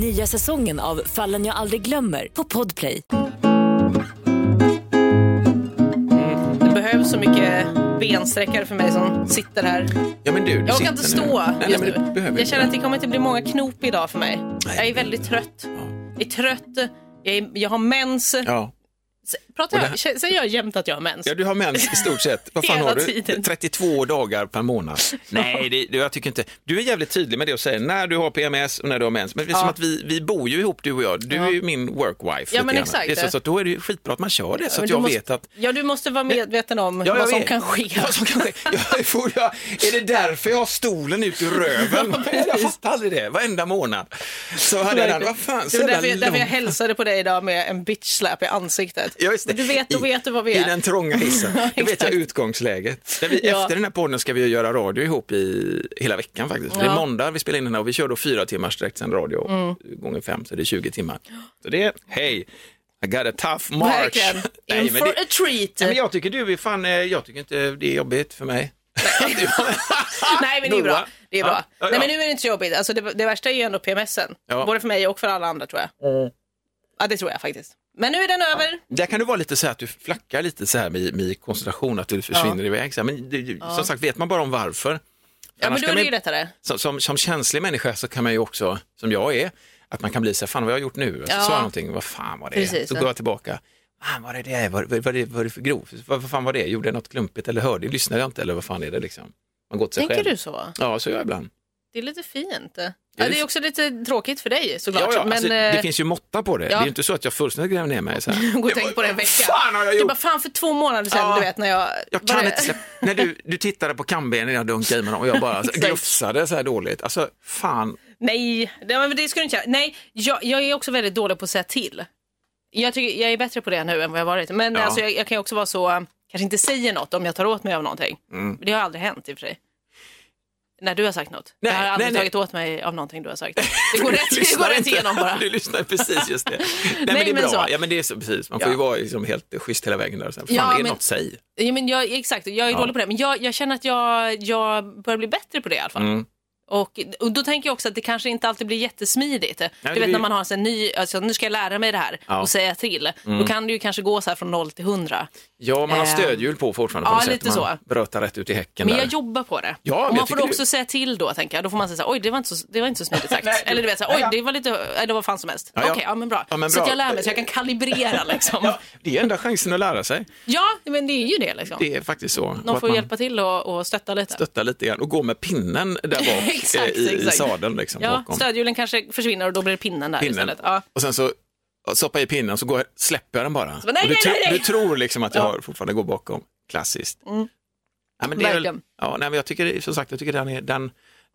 [SPEAKER 6] Nya säsongen av Fallen jag aldrig glömmer på Podplay.
[SPEAKER 4] Det behövs så mycket bensträckare för mig som sitter här.
[SPEAKER 5] Ja, men du, du
[SPEAKER 4] Jag
[SPEAKER 5] sitter
[SPEAKER 4] orkar inte
[SPEAKER 5] nu.
[SPEAKER 4] stå
[SPEAKER 5] Nej, nej,
[SPEAKER 4] just
[SPEAKER 5] men
[SPEAKER 4] nu.
[SPEAKER 5] du behöver
[SPEAKER 4] Jag
[SPEAKER 5] inte
[SPEAKER 4] känner att
[SPEAKER 5] det.
[SPEAKER 4] det kommer inte bli många knop idag för mig. Jag är väldigt trött. Jag är trött, jag, är, jag har mens,
[SPEAKER 5] Ja.
[SPEAKER 4] Pratar
[SPEAKER 5] Och det
[SPEAKER 4] jag, säger jag jämt att jag har mens?
[SPEAKER 5] Ja, du har mens i stort sett. Vad fan
[SPEAKER 4] Hela
[SPEAKER 5] har du?
[SPEAKER 4] tiden.
[SPEAKER 5] 32 dagar per månad. Nej, det, det- jag tycker inte. Du är jävligt tydlig med det och säger när du har PMS och när du har mens. Men det är
[SPEAKER 4] Ja.
[SPEAKER 5] som att vi, vi bor ju ihop du och jag. Du är ju min workwife.
[SPEAKER 4] Ja,
[SPEAKER 5] lite
[SPEAKER 4] men
[SPEAKER 5] grann.
[SPEAKER 4] exakt.
[SPEAKER 5] Det är så, så att då är det ju skitbra att man kör det så
[SPEAKER 4] Men
[SPEAKER 5] att
[SPEAKER 4] du
[SPEAKER 5] jag
[SPEAKER 4] måste-
[SPEAKER 5] vet att
[SPEAKER 4] Ja, du måste vara medveten om
[SPEAKER 5] Ja, jag
[SPEAKER 4] vad som
[SPEAKER 5] vet.
[SPEAKER 4] kan ske.
[SPEAKER 5] <laughs> Vad som kan ske. Jag får, jag, är det därför jag har stolen ut
[SPEAKER 4] <laughs>
[SPEAKER 5] ur röven? jag fattar aldrig det, varenda månad. Så hade jag den, vad fan,
[SPEAKER 4] det var därför,
[SPEAKER 5] sällan
[SPEAKER 4] därför jag
[SPEAKER 5] lång-
[SPEAKER 4] hälsade på dig idag med en bitch slap i ansiktet.
[SPEAKER 5] Ja, just det.
[SPEAKER 4] Du vet, då
[SPEAKER 5] I-
[SPEAKER 4] vet du vad vi
[SPEAKER 5] I
[SPEAKER 4] är.
[SPEAKER 5] den
[SPEAKER 4] <laughs>
[SPEAKER 5] trånga hissen. Då vet jag
[SPEAKER 4] Exakt.
[SPEAKER 5] utgångsläget. Där vi,
[SPEAKER 4] Ja.
[SPEAKER 5] Efter den här podden ska vi ju göra radio ihop i hela veckan faktiskt. Det är
[SPEAKER 4] Ja.
[SPEAKER 5] måndag vi spelar in den här och vi kör då fyra timmars direktsänd radio
[SPEAKER 4] Mm.
[SPEAKER 5] gånger fem så det är 20 timmar. Så det är, hej, I got a tough march.
[SPEAKER 4] Verkligen.
[SPEAKER 5] Nej,
[SPEAKER 4] In
[SPEAKER 5] men
[SPEAKER 4] for
[SPEAKER 5] det-
[SPEAKER 4] a treat.
[SPEAKER 5] Nej, men jag tycker du är fan, eh, jag tycker inte det är jobbigt för mig. <laughs>
[SPEAKER 4] <laughs> Nej, men det är bra.
[SPEAKER 5] Goa.
[SPEAKER 4] Det är bra.
[SPEAKER 5] Ja, ja,
[SPEAKER 4] Nej, men
[SPEAKER 5] ja.
[SPEAKER 4] nu är det inte så jobbigt. Alltså, det, det värsta är ju ändå PMSen.
[SPEAKER 5] Ja.
[SPEAKER 4] Både för mig och för alla andra tror jag. Ja, det tror jag faktiskt. Men nu är den över.
[SPEAKER 5] Där kan du vara lite så här att du flackar lite så här med, med koncentration, att du försvinner iväg. Så här. Men det,
[SPEAKER 4] Ja.
[SPEAKER 5] som sagt, vet man bara om varför.
[SPEAKER 4] Ja, men
[SPEAKER 5] Annars
[SPEAKER 4] då
[SPEAKER 5] kan
[SPEAKER 4] är det
[SPEAKER 5] man-
[SPEAKER 4] ju lättare.
[SPEAKER 5] som, som, som känslig människa så kan man ju också, som jag är, att man kan bli så här, fan vad har jag gjort nu? Så
[SPEAKER 4] Ja.
[SPEAKER 5] sa jag någonting, vad fan var det?
[SPEAKER 4] Precis.
[SPEAKER 5] så går jag tillbaka, fan var det det? Var, var, var, det, var det för grov? Vad, vad fan var det? Gjorde jag något klumpigt eller hörde, lyssnade jag inte eller vad fan är det liksom? Man går till sig
[SPEAKER 4] Tänker
[SPEAKER 5] själv.
[SPEAKER 4] du så?
[SPEAKER 5] Ja, så gör jag ibland.
[SPEAKER 4] Det är lite fint. Ja, det är också lite tråkigt för dig såklart.
[SPEAKER 5] ja, ja,
[SPEAKER 4] men,
[SPEAKER 5] alltså,
[SPEAKER 4] eh,
[SPEAKER 5] det finns ju måtta på det.
[SPEAKER 4] ja.
[SPEAKER 5] Det är ju inte så att jag fullständigt gräver ner mig. Så här.
[SPEAKER 4] Gå och tänk på det en vecka.
[SPEAKER 5] Fan har jag
[SPEAKER 4] Du
[SPEAKER 5] gjort?
[SPEAKER 4] bara, fan för två månader sedan,
[SPEAKER 5] Ja.
[SPEAKER 4] du vet när jag...
[SPEAKER 5] Jag
[SPEAKER 4] var
[SPEAKER 5] kan
[SPEAKER 4] det-
[SPEAKER 5] inte släppa. När du, du tittade på kambenen jag dunkade i med dem och jag bara
[SPEAKER 4] <laughs>
[SPEAKER 5] så,
[SPEAKER 4] Exakt.
[SPEAKER 5] glufsade så här dåligt. Alltså, fan.
[SPEAKER 4] Nej, det, men det skulle du inte göra. Nej, jag, jag är också väldigt dålig på att säga till. Jag, tycker, jag är bättre på det nu än vad jag varit. Men
[SPEAKER 5] Ja.
[SPEAKER 4] alltså, jag, jag kan ju också vara så, eh, kanske inte säger något om jag tar åt mig av någonting.
[SPEAKER 5] Mm.
[SPEAKER 4] Det har aldrig hänt i och för sig. När du har sagt något.
[SPEAKER 5] Nej,
[SPEAKER 4] jag har aldrig
[SPEAKER 5] nej, nej.
[SPEAKER 4] tagit åt mig av någonting du har
[SPEAKER 5] <laughs>
[SPEAKER 4] sagt. Det går
[SPEAKER 5] Du
[SPEAKER 4] rätt, det
[SPEAKER 5] lyssnar
[SPEAKER 4] går rätt
[SPEAKER 5] inte.
[SPEAKER 4] igenom bara.
[SPEAKER 5] <laughs> Du lyssnar precis
[SPEAKER 4] <laughs>
[SPEAKER 5] just det.
[SPEAKER 4] Nej,
[SPEAKER 5] Nej, men det är
[SPEAKER 4] men
[SPEAKER 5] bra.
[SPEAKER 4] så.
[SPEAKER 5] Ja, men det är så, precis. Man får
[SPEAKER 4] Ja.
[SPEAKER 5] ju vara liksom helt schysst hela vägen där. Och sen, fan,
[SPEAKER 4] Ja,
[SPEAKER 5] är det
[SPEAKER 4] men-
[SPEAKER 5] något säg?
[SPEAKER 4] Ja, men jag, exakt, jag är
[SPEAKER 5] Ja.
[SPEAKER 4] dålig på det. Men jag, jag känner att jag, jag börjar bli bättre på det i alla fall.
[SPEAKER 5] Mm.
[SPEAKER 4] Och, och då tänker jag också att det kanske inte alltid blir jättesmidigt.
[SPEAKER 5] men
[SPEAKER 4] du vet
[SPEAKER 5] det-
[SPEAKER 4] när man har en sån här ny, alltså, nu ska jag lära mig det här
[SPEAKER 5] Ja.
[SPEAKER 4] och säga till.
[SPEAKER 5] Mm.
[SPEAKER 4] Då kan det ju kanske gå så här från 0 till 100.
[SPEAKER 5] Ja, man har
[SPEAKER 4] Eh,
[SPEAKER 5] stödhjul på fortfarande. På
[SPEAKER 4] ja,
[SPEAKER 5] något sätt.
[SPEAKER 4] lite
[SPEAKER 5] man
[SPEAKER 4] så.
[SPEAKER 5] brötar rätt ut i häcken
[SPEAKER 4] Men
[SPEAKER 5] där.
[SPEAKER 4] jag jobbar på det.
[SPEAKER 5] Ja, men
[SPEAKER 4] och man
[SPEAKER 5] jag
[SPEAKER 4] får
[SPEAKER 5] tycker
[SPEAKER 4] också
[SPEAKER 5] du-
[SPEAKER 4] säga till då, tänker jag. Då får man säga så här, oj, det var inte så, det var inte så smidigt sagt. Eller du vet, så här, oj, det var lite, eh, det var fan som helst.
[SPEAKER 5] Ja,
[SPEAKER 4] Okej,
[SPEAKER 5] ja.
[SPEAKER 4] ja men bra.
[SPEAKER 5] Ja, men
[SPEAKER 4] Så att
[SPEAKER 5] bra.
[SPEAKER 4] jag lär mig, så jag kan
[SPEAKER 5] <laughs>
[SPEAKER 4] kalibrera liksom.
[SPEAKER 5] Det är enda chansen att lära sig.
[SPEAKER 4] ja, men det är ju det liksom.
[SPEAKER 5] Det är faktiskt så. Och
[SPEAKER 4] Någon
[SPEAKER 5] att
[SPEAKER 4] får
[SPEAKER 5] man
[SPEAKER 4] hjälpa till och, och stötta lite.
[SPEAKER 5] Stötta lite grann och gå med pinnen
[SPEAKER 4] <laughs>
[SPEAKER 5] där bak
[SPEAKER 4] Exakt,
[SPEAKER 5] eh, i, i
[SPEAKER 4] exakt.
[SPEAKER 5] sadeln. Liksom,
[SPEAKER 4] Ja,
[SPEAKER 5] bakom.
[SPEAKER 4] stödhjulen kanske försvinner och då blir det pinnen där
[SPEAKER 5] Pinnen.
[SPEAKER 4] istället. Ja.
[SPEAKER 5] Och sen så stoppar jag i pinnen så går jag, släpper jag den bara.
[SPEAKER 4] Så bara, nej,
[SPEAKER 5] och du,
[SPEAKER 4] nej,
[SPEAKER 5] tro-
[SPEAKER 4] nej, nej.
[SPEAKER 5] du tror liksom att jag har fortfarande går bakom. Klassiskt.
[SPEAKER 4] Mm.
[SPEAKER 5] Ja, men det är väl,
[SPEAKER 4] Verkligen.
[SPEAKER 5] ja, nej, men jag tycker som sagt, jag tycker den, är, den,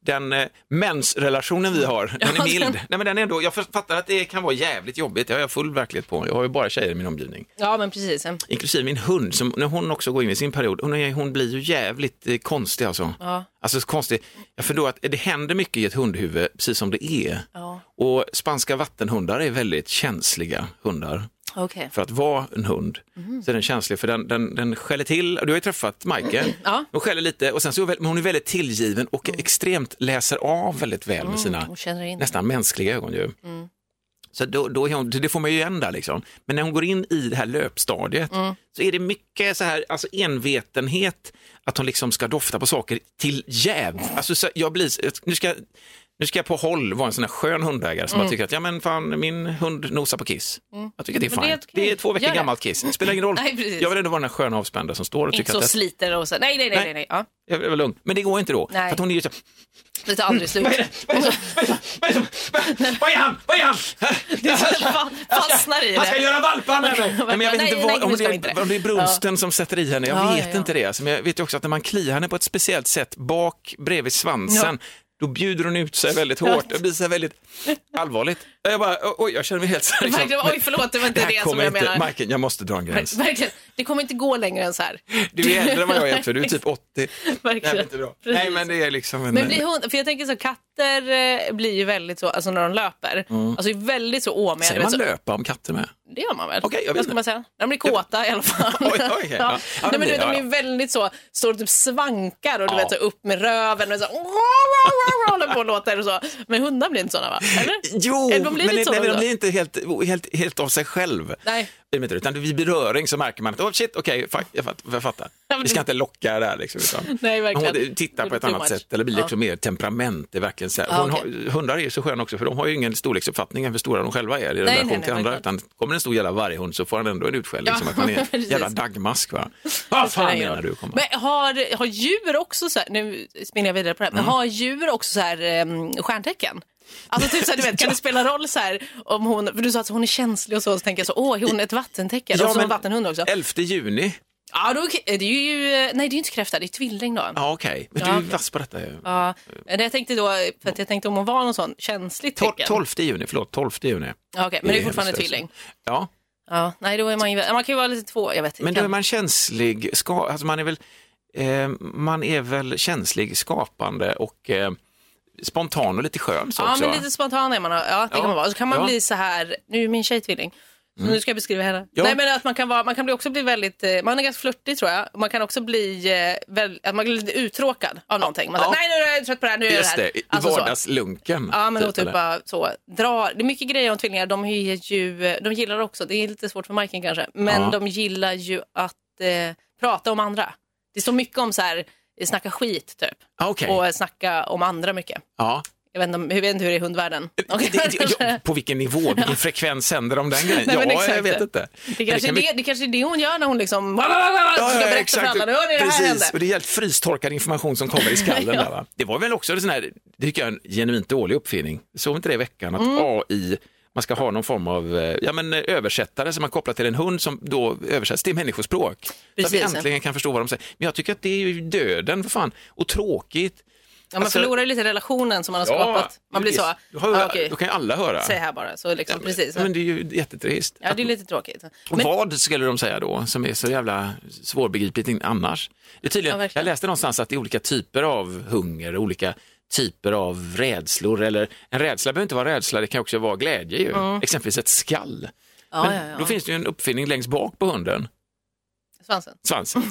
[SPEAKER 5] den eh, mensrelationen vi har, den
[SPEAKER 4] Mm. <laughs> Ja,
[SPEAKER 5] är mild.
[SPEAKER 4] den-
[SPEAKER 5] Nej, men den är ändå, jag fattar att det kan vara jävligt jobbigt, det har jag full verklighet på. Jag har ju bara tjejer i min omgivning.
[SPEAKER 4] ja, men precis.
[SPEAKER 5] Inklusive min hund, som, när hon också går in i sin period, hon, är- hon blir ju jävligt eh, konstig alltså.
[SPEAKER 4] Ja.
[SPEAKER 5] Alltså så konstig, jag förstår att eh, det händer mycket i ett hundhuvud, precis som det är.
[SPEAKER 4] Ja.
[SPEAKER 5] Och spanska vattenhundar är väldigt känsliga hundar.
[SPEAKER 4] Okej.
[SPEAKER 5] För att vara en hund
[SPEAKER 4] Mhm.
[SPEAKER 5] så är den känslig för den, den, den skäller till. Du har ju träffat Michael.
[SPEAKER 4] <clears throat> Ja. Mm.
[SPEAKER 5] Hon skäller lite och sen så är hon väl- men hon är väldigt tillgiven och extremt läser av väldigt väl med sina
[SPEAKER 4] Hon känner in.
[SPEAKER 5] nästan mänskliga ögon. Ju.
[SPEAKER 4] Mm.
[SPEAKER 5] Så då, då är hon, det får man ju igen där liksom. Men när hon går in i det här löpstadiet
[SPEAKER 4] Mm.
[SPEAKER 5] så är det mycket så här, alltså envetenhet, att hon liksom ska dofta på saker till jäv. Alltså, så jag blir, nu ska, nu ska jag på håll vara en sån här skön hundägare som
[SPEAKER 4] Mm.
[SPEAKER 5] bara tycker att ja, men fan, min hund nosar på kiss.
[SPEAKER 4] Mm.
[SPEAKER 5] Jag tycker det är
[SPEAKER 4] Men det är
[SPEAKER 5] fine.
[SPEAKER 4] okej.
[SPEAKER 5] Det är två
[SPEAKER 4] Gör
[SPEAKER 5] veckor
[SPEAKER 4] det.
[SPEAKER 5] gammalt kiss, det spelar ingen
[SPEAKER 4] <laughs>
[SPEAKER 5] roll.
[SPEAKER 4] Nej, precis.
[SPEAKER 5] jag vill ändå vara den här sköna avspända som står och
[SPEAKER 4] Inte
[SPEAKER 5] tycker
[SPEAKER 4] så
[SPEAKER 5] att det-
[SPEAKER 4] sliter och så. Nej, nej, nej. nej.
[SPEAKER 5] Nej.
[SPEAKER 4] nej. Ja.
[SPEAKER 5] jag vill vara lugn. Men det går inte då,
[SPEAKER 4] Nej.
[SPEAKER 5] för att hon är ju så
[SPEAKER 4] Det tar aldrig
[SPEAKER 5] <laughs>
[SPEAKER 4] slut.
[SPEAKER 5] Vad är han? Vad är han?
[SPEAKER 4] Fan, fastnar i det.
[SPEAKER 5] Han ska göra valpar med mig! Nej, men jag vet
[SPEAKER 4] Nej,
[SPEAKER 5] inte
[SPEAKER 4] nej,
[SPEAKER 5] vad,
[SPEAKER 4] nu
[SPEAKER 5] om,
[SPEAKER 4] ska vi inte
[SPEAKER 5] det
[SPEAKER 4] det.
[SPEAKER 5] är, om det är brunsten som sätter i henne, jag
[SPEAKER 4] Ja,
[SPEAKER 5] vet
[SPEAKER 4] ja, ja.
[SPEAKER 5] inte det. Alltså, men jag vet ju också att när man kliar henne på ett speciellt sätt, bak bredvid svansen, då bjuder hon ut sig väldigt hårt. Det blir så här väldigt allvarligt. Jag bara, oj, jag känner mig helt så här, liksom,
[SPEAKER 4] Verkligen, oj, förlåt, det var inte
[SPEAKER 5] Det här
[SPEAKER 4] det som
[SPEAKER 5] kommer
[SPEAKER 4] jag
[SPEAKER 5] inte,
[SPEAKER 4] menar.
[SPEAKER 5] Marken, jag måste dra en gräns.
[SPEAKER 4] Verkligen. Det kommer inte gå längre än så här.
[SPEAKER 5] Du är äldre än vad jag är, för du är typ 80. Nej, men,
[SPEAKER 4] <laughs> Verkligen.
[SPEAKER 5] inte bra.
[SPEAKER 4] Precis.
[SPEAKER 5] Nej, men det är liksom en...
[SPEAKER 4] Men blir hund, för jag tänker så, katter eh, blir ju väldigt så, alltså när de löper,
[SPEAKER 5] Mm.
[SPEAKER 4] alltså är väldigt så åmiga.
[SPEAKER 5] Säger
[SPEAKER 4] du vet,
[SPEAKER 5] man
[SPEAKER 4] så-
[SPEAKER 5] löpa om katter med?
[SPEAKER 4] Det gör man väl?
[SPEAKER 5] Okej, jag vet
[SPEAKER 4] Vad ska
[SPEAKER 5] inte.
[SPEAKER 4] man säga? De blir kåta i alla fall.
[SPEAKER 5] <laughs> Oj, oj, oj, ja.
[SPEAKER 4] ja.
[SPEAKER 5] Ja,
[SPEAKER 4] Nej, men du vet,
[SPEAKER 5] ja,
[SPEAKER 4] de
[SPEAKER 5] ja.
[SPEAKER 4] är väldigt så, står och typ svankar och du
[SPEAKER 5] Ja.
[SPEAKER 4] vet, så upp med röven och så, hålla på och låta er och så. Men hundar blir inte sådana va? Eller?
[SPEAKER 5] Jo,
[SPEAKER 4] Eller de blir
[SPEAKER 5] men,
[SPEAKER 4] lite
[SPEAKER 5] nej,
[SPEAKER 4] sådana
[SPEAKER 5] men de
[SPEAKER 4] då?
[SPEAKER 5] blir inte helt, helt, helt av sig själv.
[SPEAKER 4] Nej.
[SPEAKER 5] I och med det, Utan vid beröring så märker man att oh, shit, okej, fa- jag, fatt, jag fattar.
[SPEAKER 4] <laughs> Ja, men
[SPEAKER 5] Vi ska
[SPEAKER 4] det-
[SPEAKER 5] inte locka det här. Liksom, utan
[SPEAKER 4] <laughs> Nej, verkligen.
[SPEAKER 5] Hon tittar på ett
[SPEAKER 4] Too
[SPEAKER 5] annat
[SPEAKER 4] much.
[SPEAKER 5] sätt eller blir
[SPEAKER 4] Ja.
[SPEAKER 5] liksom mer temperament. Det är verkligen så här.
[SPEAKER 4] Ja,
[SPEAKER 5] Hon
[SPEAKER 4] okej.
[SPEAKER 5] har, hundar är ju så sköna också för de har ju ingen storleksuppfattning än hur stora de själva är i relation
[SPEAKER 4] nej, nej,
[SPEAKER 5] till andra.
[SPEAKER 4] verkligen.
[SPEAKER 5] Utan kommer det en stor jävla varghund så får han ändå en utskällning
[SPEAKER 4] Ja,
[SPEAKER 5] som att han är en
[SPEAKER 4] <laughs> precis.
[SPEAKER 5] jävla dagmask. Va? Vad
[SPEAKER 4] spelar
[SPEAKER 5] fan
[SPEAKER 4] ingen
[SPEAKER 5] menar
[SPEAKER 4] roll.
[SPEAKER 5] du? Kommer.
[SPEAKER 4] Men har, har djur också så här, nu spinner jag vidare på det här, men
[SPEAKER 5] Mm.
[SPEAKER 4] har djur också så här em, stjärntecken? Alltså typ så här, du
[SPEAKER 5] <laughs>
[SPEAKER 4] vet, kan det spela roll så här om hon, för du sa att hon är känslig och så, och så tänker jag så, åh, är hon ett vattentecken? och så är hon vattenhund också.
[SPEAKER 5] 11 juni.
[SPEAKER 4] Ja, då, är det är ju, nej det är ju inte kräfta, det är tvilling då.
[SPEAKER 5] Ja, okej. Men du
[SPEAKER 4] Ja,
[SPEAKER 5] är
[SPEAKER 4] okej.
[SPEAKER 5] vass på detta. ju.
[SPEAKER 4] Ja, men jag tänkte då, för att jag tänkte om hon var någon sån känslig
[SPEAKER 5] Tol-
[SPEAKER 4] tecken.
[SPEAKER 5] 12 juni, förlåt, 12 juni.
[SPEAKER 4] Ja, okej, men det är
[SPEAKER 5] hemskt,
[SPEAKER 4] fortfarande
[SPEAKER 5] alltså.
[SPEAKER 4] tvilling.
[SPEAKER 5] Ja,
[SPEAKER 4] Ja, nej då är man ju, man kan ju vara lite två, jag vet inte.
[SPEAKER 5] men då är man känslig, ska, alltså man, är väl, eh, man är väl känslig, skapande och eh, spontan och lite skön så
[SPEAKER 4] Ja,
[SPEAKER 5] också.
[SPEAKER 4] men
[SPEAKER 5] va?
[SPEAKER 4] lite spontan är man. Ja, det
[SPEAKER 5] Ja.
[SPEAKER 4] kan man vara. Så kan man
[SPEAKER 5] Ja.
[SPEAKER 4] bli så här, nu är min tjej tvilling. Så
[SPEAKER 5] Mm.
[SPEAKER 4] Nu ska jag beskriva henne.
[SPEAKER 5] Ja.
[SPEAKER 4] Nej, men att man kan, vara, man kan bli också bli väldigt, eh, man är ganska flörtig tror jag. Man kan också bli, eh, väl, att man blir lite uttråkad av någonting. Man säger,
[SPEAKER 5] Ja.
[SPEAKER 4] nej nu är jag trött på det här, nu är
[SPEAKER 5] Just
[SPEAKER 4] det här.
[SPEAKER 5] det, i
[SPEAKER 4] Alltså så.
[SPEAKER 5] vardagslunken.
[SPEAKER 4] Ja, men då typ
[SPEAKER 5] eller?
[SPEAKER 4] bara så. Dra. Det är mycket grejer om tvillingar. De, är ju, de gillar också, det är lite svårt för Majken kanske, men
[SPEAKER 5] Ja.
[SPEAKER 4] de gillar ju att eh, prata om andra. Det står mycket om så här, snacka skit typ.
[SPEAKER 5] Ah, okej.
[SPEAKER 4] Och snacka om andra mycket.
[SPEAKER 5] Ja.
[SPEAKER 4] Jag vet inte, om- jag vet inte hur det är i hundvärlden.
[SPEAKER 5] Eh, Det, det, <laughs>
[SPEAKER 4] <laughs>
[SPEAKER 5] ja, på vilken nivå, vilken frekvens sänder de den grejen?
[SPEAKER 4] Nej, men
[SPEAKER 5] ja,
[SPEAKER 4] exakt.
[SPEAKER 5] jag vet inte.
[SPEAKER 4] Det kanske, är
[SPEAKER 5] kan
[SPEAKER 4] det,
[SPEAKER 5] bli-
[SPEAKER 4] det kanske är det hon gör när hon liksom ska berätta för alla. Nu hör ni, det här
[SPEAKER 5] Precis, och
[SPEAKER 4] hände.
[SPEAKER 5] det är helt frystorkad information som kommer i skallen.
[SPEAKER 4] <laughs>
[SPEAKER 5] där, va? Det var väl också en sån här, det tycker jag är en genuint dålig uppfinning. Såg inte det i veckan att
[SPEAKER 4] Mm.
[SPEAKER 5] AI, man ska ha någon form av eh, ja, men, eh, översättare som man kopplar till en hund som då översätts till människospråk. Så att vi
[SPEAKER 4] Precis.
[SPEAKER 5] äntligen kan förstå vad de säger. Men jag tycker att det är ju döden för fan och tråkigt.
[SPEAKER 4] Ja, man
[SPEAKER 5] Alltså-
[SPEAKER 4] förlorar ju lite relationen som man har skapat. Man blir så,
[SPEAKER 5] visst. Då, hör,
[SPEAKER 4] ah, okej,
[SPEAKER 5] då kan ju alla höra.
[SPEAKER 4] säg här bara. Så liksom, precis.
[SPEAKER 5] Ja, men det är ju jättetrist.
[SPEAKER 4] Ja, det är lite tråkigt.
[SPEAKER 5] Och vad skulle de säga då, som är så jävla svårbegripligt in- annars? Det är tydligen,
[SPEAKER 4] Ja, verkligen.
[SPEAKER 5] jag läste någonstans att det är olika typer av hunger, olika typer av rädslor. Eller, en rädsla behöver inte vara rädsla, det kan också vara glädje. Ju.
[SPEAKER 4] Mm.
[SPEAKER 5] Exempelvis ett skall.
[SPEAKER 4] Ja,
[SPEAKER 5] Men
[SPEAKER 4] ja, ja.
[SPEAKER 5] Då finns det ju en uppfinning längst bak på hunden,
[SPEAKER 4] Svansen. <laughs>
[SPEAKER 5] svansen.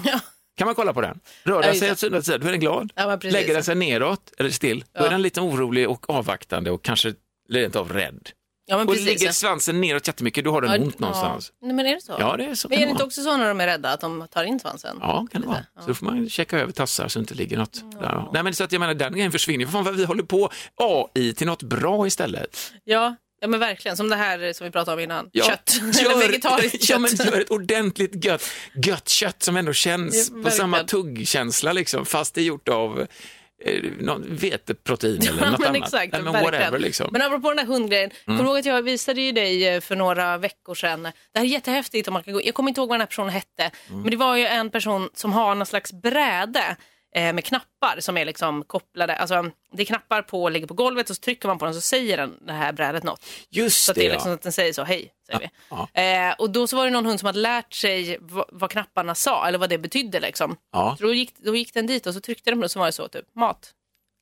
[SPEAKER 5] Kan man kolla på den? Rör
[SPEAKER 4] Ja,
[SPEAKER 5] den
[SPEAKER 4] just
[SPEAKER 5] sig
[SPEAKER 4] det.
[SPEAKER 5] åt sidan till sidan, då är den glad.
[SPEAKER 4] Ja, men precis.
[SPEAKER 5] Lägger den sig neråt eller still, då
[SPEAKER 4] Ja.
[SPEAKER 5] är den lite orolig och avvaktande och kanske rent av rädd.
[SPEAKER 4] Ja, men
[SPEAKER 5] och
[SPEAKER 4] precis,
[SPEAKER 5] ligger
[SPEAKER 4] ja.
[SPEAKER 5] svansen neråt jättemycket, då har den
[SPEAKER 4] Ja,
[SPEAKER 5] ont någonstans.
[SPEAKER 4] Ja. Nej, men är det så?
[SPEAKER 5] Ja, det är så
[SPEAKER 4] Men
[SPEAKER 5] kan
[SPEAKER 4] är det
[SPEAKER 5] det
[SPEAKER 4] inte
[SPEAKER 5] vara.
[SPEAKER 4] också så när de är rädda att de tar in svansen?
[SPEAKER 5] Ja, kan det vara. Så då får man checka över tassar så det inte ligger något där. Nej, men så att jag menar, den grejen försvinner. Fan vad vi håller på AI till något bra istället.
[SPEAKER 4] Ja, ja men verkligen. Som det här som vi pratade om innan.
[SPEAKER 5] Ja, <laughs>
[SPEAKER 4] Kött. <laughs> Eller vegetariskt kött.
[SPEAKER 5] Ja, men gör ett ordentligt gött, gött kött som ändå känns
[SPEAKER 4] Ja,
[SPEAKER 5] på
[SPEAKER 4] verkligen.
[SPEAKER 5] samma tuggkänsla liksom, fast det är gjort av eh, någon veteprotein eller
[SPEAKER 4] <laughs> <laughs>
[SPEAKER 5] något
[SPEAKER 4] Ja, men
[SPEAKER 5] annat.
[SPEAKER 4] Exakt,
[SPEAKER 5] Nej, men
[SPEAKER 4] verkligen.
[SPEAKER 5] whatever liksom.
[SPEAKER 4] Men apropå den där hundgrejen,
[SPEAKER 5] Mm.
[SPEAKER 4] kommer du ihåg att jag visade ju dig eh, för några veckor sedan, det här är jättehäftigt, om man kan gå. jag kommer inte ihåg vad den här personen hette,
[SPEAKER 5] Mm.
[SPEAKER 4] men det var ju en person som har någon slags bräde eh, med knappar som är liksom kopplade, alltså det är knappar på, ligger på golvet och så trycker man på den så säger den det här brädet något.
[SPEAKER 5] Just
[SPEAKER 4] så att
[SPEAKER 5] det,
[SPEAKER 4] är liksom
[SPEAKER 5] ja.
[SPEAKER 4] att den säger så, hej, säger vi.
[SPEAKER 5] Ja.
[SPEAKER 4] Eh, och då så var det någon hund som hade lärt sig vad, vad knapparna sa eller vad det betydde liksom.
[SPEAKER 5] Ja.
[SPEAKER 4] Så då gick, då gick den dit och så tryckte de på det så var det så typ mat.